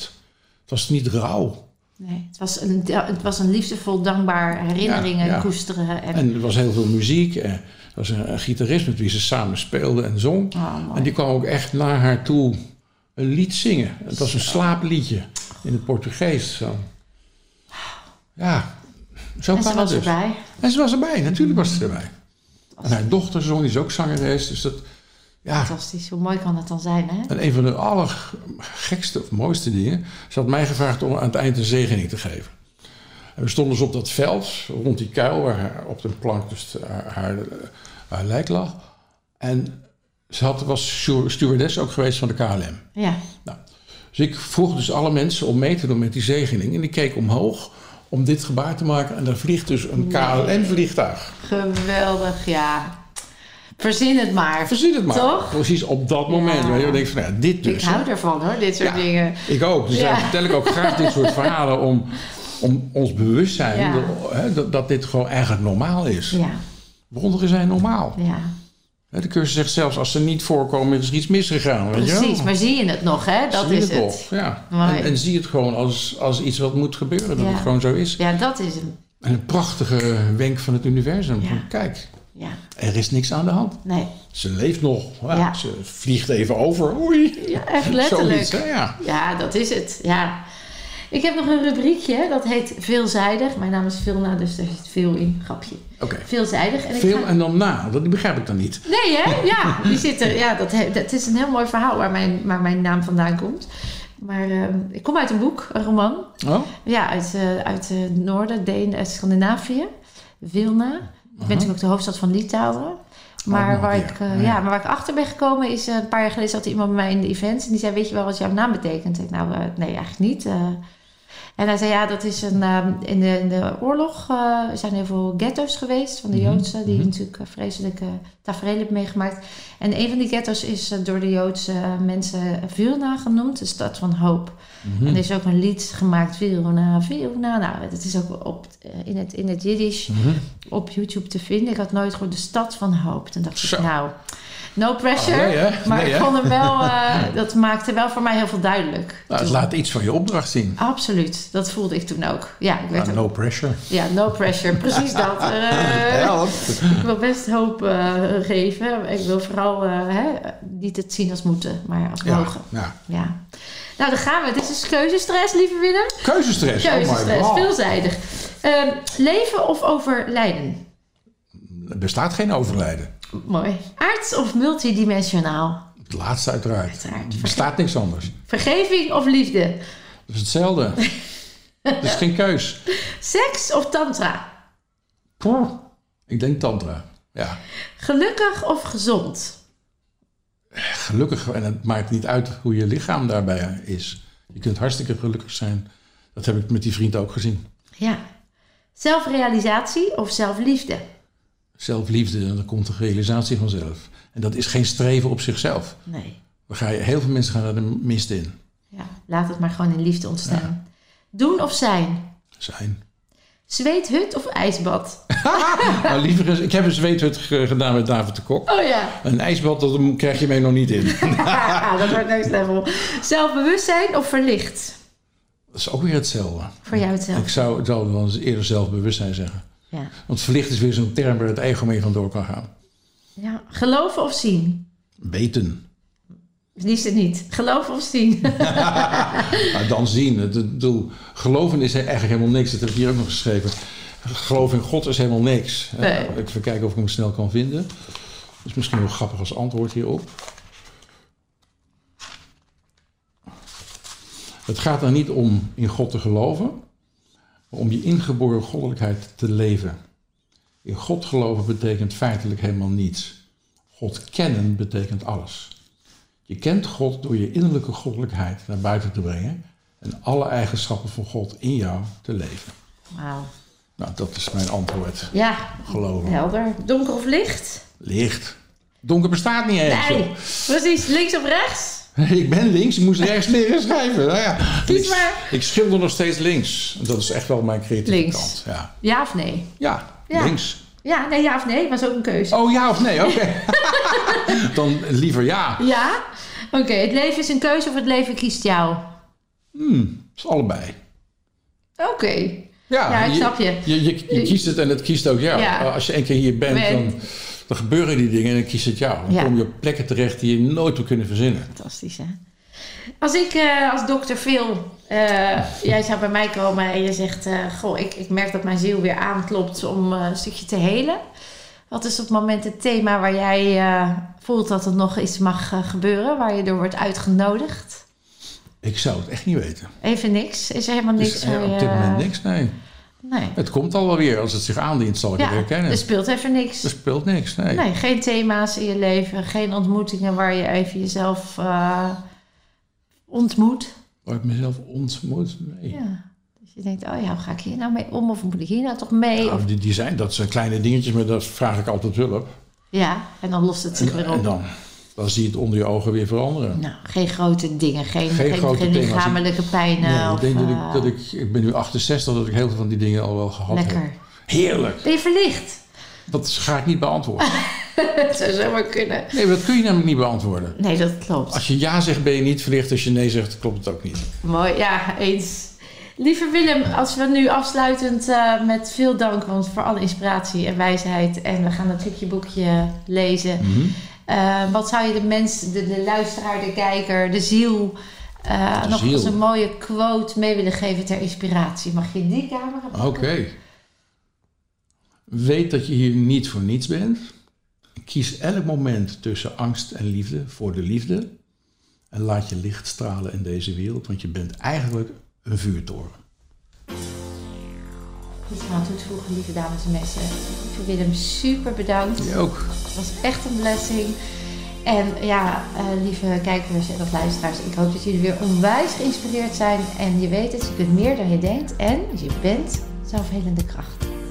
Speaker 2: Het was niet rauw.
Speaker 1: Nee, het was een, het was een liefdevol, dankbaar herinneringen
Speaker 2: Ja, ja.
Speaker 1: koesteren. En,
Speaker 2: En er was heel veel muziek. En er was een, een gitarist met wie ze samen speelde en zong.
Speaker 1: Oh, mooi.
Speaker 2: En die kwam ook echt naar haar toe een lied zingen. Het was een slaapliedje in het Portugees. Zo. Ja, zo
Speaker 1: en
Speaker 2: kan
Speaker 1: ze
Speaker 2: dat
Speaker 1: was
Speaker 2: dus.
Speaker 1: erbij. Mhm.
Speaker 2: En ze was erbij, natuurlijk was ze erbij. En haar dochter zong, die is ook zangeres. Dus dat, ja.
Speaker 1: Fantastisch, hoe mooi kan dat dan zijn, hè?
Speaker 2: En een van de allergekste of mooiste dingen... ze had mij gevraagd om aan het eind een zegening te geven. En we stonden dus op dat veld, rond die kuil... waar haar- op de plank dus de- haar, haar, haar lijk lag. En ze had, was stew- stewardess ook geweest van de KLM.
Speaker 1: Ja,
Speaker 2: Dus ik vroeg dus alle mensen om mee te doen met die zegening. En ik keek omhoog om dit gebaar te maken. En daar vliegt dus een KLM-vliegtuig.
Speaker 1: geweldig, ja. Verzin het maar.
Speaker 2: Verzin het maar.
Speaker 1: Toch?
Speaker 2: Precies op dat moment.
Speaker 1: Ja.
Speaker 2: Weet je, dan denk ik van, ja, dit dus.
Speaker 1: Ik
Speaker 2: hè.
Speaker 1: hou ervan, hoor, dit soort
Speaker 2: Ja,
Speaker 1: dingen.
Speaker 2: Ik ook. Dus
Speaker 1: Ja.
Speaker 2: daar vertel ik ook graag dit soort verhalen om, om ons bewustzijn
Speaker 1: Ja.
Speaker 2: dat, hè, dat, dat dit gewoon eigenlijk normaal is.
Speaker 1: Ja,
Speaker 2: Wonderen zijn normaal.
Speaker 1: Ja,
Speaker 2: Hè, De cursus zegt zelfs als ze niet voorkomen is er iets misgegaan. Weet je wel?
Speaker 1: precies. Maar zie je het nog, hè? Dat
Speaker 2: Zie
Speaker 1: is
Speaker 2: het
Speaker 1: het.
Speaker 2: nog, Ja.
Speaker 1: Mooi.
Speaker 2: En, en zie het gewoon als, als iets wat moet gebeuren, dat
Speaker 1: Ja.
Speaker 2: het gewoon zo is.
Speaker 1: Ja, dat is hem.
Speaker 2: En een prachtige wenk van het universum.
Speaker 1: Ja.
Speaker 2: Van, kijk,
Speaker 1: Ja,
Speaker 2: er is niks aan de hand.
Speaker 1: nee.
Speaker 2: Ze leeft nog. Ja,
Speaker 1: Ja.
Speaker 2: Ze vliegt even over. Oei.
Speaker 1: Ja, echt letterlijk.
Speaker 2: Zoiets, hè? ja.
Speaker 1: Ja, dat is het. Ja. Ik heb nog een rubriekje, dat heet Veelzijdig. Mijn naam is Vilna, dus daar zit veel in. Grapje.
Speaker 2: Oké.
Speaker 1: Veelzijdig. En ik
Speaker 2: Veel
Speaker 1: ga-
Speaker 2: en dan na. Dat begrijp ik dan niet.
Speaker 1: Nee, hè? Ja, die zit er. Ja, dat, he- dat is een heel mooi verhaal waar mijn, waar mijn naam vandaan komt. Maar ehm, ik kom uit een boek, een roman.
Speaker 2: Oh?
Speaker 1: Ja, uit, eh, uit eh, het noorden, Deen, eh, Scandinavië. Vilna. Ik ben natuurlijk ook de hoofdstad van Litouwen. Maar,
Speaker 2: Mhm. Oh,
Speaker 1: waar
Speaker 2: ja.
Speaker 1: ik, eh,
Speaker 2: Ja.
Speaker 1: ja, maar waar ik achter ben gekomen is... eh, een paar jaar geleden zat iemand bij mij in de events... en die zei, weet je wel wat jouw naam betekent? Ik nou, eh, nee, eigenlijk niet. eh. en hij zei, ja, dat is een... eh, in, de, in de oorlog eh, er zijn heel veel ghetto's geweest van de
Speaker 2: Mhm.
Speaker 1: Joodse... die
Speaker 2: Mhm.
Speaker 1: natuurlijk eh, vreselijke tafereel hebben meegemaakt. En een van die ghetto's is eh, door de Joodse mensen Vilna genoemd. De stad van hoop.
Speaker 2: Mhm.
Speaker 1: En er is ook een lied gemaakt, Viruna, Viruna. Nou, het is ook op, eh, in het, in het Jiddisch
Speaker 2: Mhm.
Speaker 1: op YouTube te vinden. Ik had nooit gehoord de stad van hoop. Toen dacht
Speaker 2: Zo.
Speaker 1: ik, nou, no pressure.
Speaker 2: Ah, nee, hè?
Speaker 1: maar
Speaker 2: Nee,
Speaker 1: ik
Speaker 2: hè?
Speaker 1: vond hem wel,
Speaker 2: (laughs)
Speaker 1: eh, dat maakte wel voor mij heel veel duidelijk.
Speaker 2: Nou, het
Speaker 1: Toen-
Speaker 2: laat iets van je opdracht zien.
Speaker 1: Absoluut, dat voelde ik toen ook. Ja, ik werd
Speaker 2: Ja,
Speaker 1: ook-
Speaker 2: no pressure.
Speaker 1: ja, no pressure, precies dat. Eh,
Speaker 2: Help.
Speaker 1: ik wil best hoop eh, geven. Ik wil vooral eh, hè, niet het zien als moeten, maar als
Speaker 2: Ja,
Speaker 1: mogen.
Speaker 2: ja.
Speaker 1: Ja. Nou, daar gaan we. Dit is dus keuzestress, lieve Willem.
Speaker 2: Keuzestress.
Speaker 1: Keuzestress,
Speaker 2: Oh my god.
Speaker 1: veelzijdig. Ehm, leven of overlijden?
Speaker 2: Er bestaat geen overlijden.
Speaker 1: Mooi. Aards of multidimensionaal?
Speaker 2: Het laatste uiteraard.
Speaker 1: Uiteraard.
Speaker 2: Er bestaat niks anders.
Speaker 1: Vergeving of liefde?
Speaker 2: Dat is hetzelfde. Het is geen keus.
Speaker 1: Seks of tantra?
Speaker 2: Poeh. Ik denk tantra. Ja,
Speaker 1: Gelukkig of gezond?
Speaker 2: gelukkig. En het maakt niet uit hoe je lichaam daarbij is. Je kunt hartstikke gelukkig zijn. Dat heb ik met die vriend ook gezien.
Speaker 1: Ja. Zelfrealisatie of zelfliefde?
Speaker 2: Zelfliefde, dan komt de realisatie vanzelf. En dat is geen streven op zichzelf.
Speaker 1: Nee.
Speaker 2: Dan ga je, heel veel mensen gaan daar de mist in.
Speaker 1: Ja, laat het maar gewoon in liefde ontstaan. Doen of zijn?
Speaker 2: Zijn.
Speaker 1: Zweethut of ijsbad?
Speaker 2: Maar liever eens, ik heb een zweethut ge- gedaan met David de Kok.
Speaker 1: Oh ja,
Speaker 2: Een ijsbad, dat krijg je mij nog niet in.
Speaker 1: (laughs) dat wordt next level. Zelfbewustzijn of verlicht?
Speaker 2: Dat is ook weer hetzelfde.
Speaker 1: Voor jou hetzelfde.
Speaker 2: Ik zou, ik zou dan eerder zelfbewustzijn zeggen.
Speaker 1: Ja.
Speaker 2: Want verlicht is weer zo'n term waar het ego mee vandoor kan gaan.
Speaker 1: ja. Geloven of zien?
Speaker 2: Weten.
Speaker 1: Liefst het niet. Geloven of (laughs) zien.
Speaker 2: Maar dan zien. Het, het doel, geloven is eigenlijk helemaal niks. Dat heb ik hier ook nog geschreven. Geloof in God is helemaal niks.
Speaker 1: Nee.
Speaker 2: Eh, Even kijken of ik hem snel kan vinden. Dat is misschien wel grappig als antwoord hierop. Het gaat er niet om in God te geloven, maar om je ingeboren goddelijkheid te leven. In God geloven betekent feitelijk helemaal niets. God kennen betekent alles. Je kent God door je innerlijke goddelijkheid naar buiten te brengen en alle eigenschappen van God in jou te leven.
Speaker 1: Wauw.
Speaker 2: Nou, dat is mijn antwoord.
Speaker 1: Ja,
Speaker 2: Geloven.
Speaker 1: helder. Donker of licht?
Speaker 2: Licht. Donker bestaat niet eens.
Speaker 1: Nee.
Speaker 2: joh.
Speaker 1: Precies. Links of rechts?
Speaker 2: (laughs) Ik ben links, ik moest rechts leren schrijven. Nou ja.
Speaker 1: Kies
Speaker 2: ik,
Speaker 1: maar.
Speaker 2: ik schilder nog steeds links. Dat is echt wel mijn creatieve
Speaker 1: Links.
Speaker 2: kant. Ja.
Speaker 1: Ja of nee?
Speaker 2: Ja,
Speaker 1: Ja.
Speaker 2: links.
Speaker 1: Ja, nee, ja of nee. Was ook een keuze.
Speaker 2: Oh ja of nee, oké.
Speaker 1: (laughs)
Speaker 2: Dan liever ja.
Speaker 1: Ja? Oké, het leven is een keuze of het leven kiest jou?
Speaker 2: Hmm, is allebei.
Speaker 1: Oké.
Speaker 2: Ja,
Speaker 1: Ja, ik snap je.
Speaker 2: Je, je, je kiest het en het kiest ook jou.
Speaker 1: Ja.
Speaker 2: Als je één keer hier bent,
Speaker 1: Ben.
Speaker 2: dan, dan gebeuren die dingen en dan kiest het jou. Dan
Speaker 1: Ja.
Speaker 2: kom je op plekken terecht die je nooit zou kunnen verzinnen.
Speaker 1: Fantastisch, hè? Als ik eh, als dokter Phil, eh, jij zou bij mij komen en je zegt... eh, goh, ik, ik merk dat mijn ziel weer aanklopt om eh, een stukje te helen. Wat is op het moment het thema waar jij eh, voelt dat er nog iets mag eh, gebeuren? Waar je door wordt uitgenodigd?
Speaker 2: Ik zou het echt niet weten.
Speaker 1: Even niks? Is er helemaal
Speaker 2: Dus
Speaker 1: niks?
Speaker 2: er
Speaker 1: waar
Speaker 2: op
Speaker 1: je-
Speaker 2: dit moment niks, nee.
Speaker 1: Nee.
Speaker 2: Het komt al wel weer. Als het zich aandient, zal ik
Speaker 1: Ja,
Speaker 2: het herkennen.
Speaker 1: er speelt even niks.
Speaker 2: Er speelt niks, nee.
Speaker 1: Nee, geen thema's in je leven. Geen ontmoetingen waar je even jezelf eh, ontmoet.
Speaker 2: Waar ik mezelf ontmoet, nee.
Speaker 1: Ja. Dus je denkt, oh ja, hoe ga ik hier nou mee om? Of moet ik hier nou toch mee?
Speaker 2: Nou,
Speaker 1: Of,
Speaker 2: die, die zijn, dat zijn kleine dingetjes, maar daar vraag ik altijd hulp.
Speaker 1: ja, en dan lost het zich
Speaker 2: En,
Speaker 1: weer
Speaker 2: en
Speaker 1: op.
Speaker 2: dan, dan zie je het onder je ogen weer veranderen.
Speaker 1: Nou, geen grote dingen, geen,
Speaker 2: Geen
Speaker 1: geen,
Speaker 2: grote
Speaker 1: geen
Speaker 2: thema's.
Speaker 1: lichamelijke pijnen.
Speaker 2: nee,
Speaker 1: of,
Speaker 2: ik denk dat
Speaker 1: eh,
Speaker 2: ik, dat ik... Ik ben nu 68, dat ik heel veel van die dingen al wel gehad heb.
Speaker 1: lekker.
Speaker 2: Heerlijk.
Speaker 1: Ben je verlicht? (laughs)
Speaker 2: Dat ga ik niet beantwoorden.
Speaker 1: Het zou zomaar kunnen.
Speaker 2: Nee, dat kun je namelijk niet beantwoorden.
Speaker 1: Nee, dat klopt.
Speaker 2: Als je ja zegt, ben je niet verlicht. Als je nee zegt, klopt het ook niet.
Speaker 1: Mooi, ja, eens. Lieve Willem, als we nu afsluitend eh, met veel dank, want voor alle inspiratie en wijsheid. En we gaan natuurlijk je boekje lezen.
Speaker 2: Mhm.
Speaker 1: Eh, wat zou je de mens, de, de luisteraar, de kijker, de ziel, eh,
Speaker 2: De
Speaker 1: nog
Speaker 2: ziel.
Speaker 1: als een mooie quote mee willen geven ter inspiratie? Mag je die camera
Speaker 2: Oké.
Speaker 1: pakken?
Speaker 2: Weet dat je hier niet voor niets bent. Kies elk moment tussen angst en liefde voor de liefde. En laat je licht stralen in deze wereld, want je bent eigenlijk een vuurtoren.
Speaker 1: Iets aan toevoegen, lieve dames en messen. Lieve Willem, super bedankt.
Speaker 2: Je ook.
Speaker 1: Het was echt een blessing. En ja, eh, lieve kijkers en of luisteraars, ik hoop dat jullie weer onwijs geïnspireerd zijn. En je weet het, je kunt meer dan je denkt en je bent zelfhelende krachten.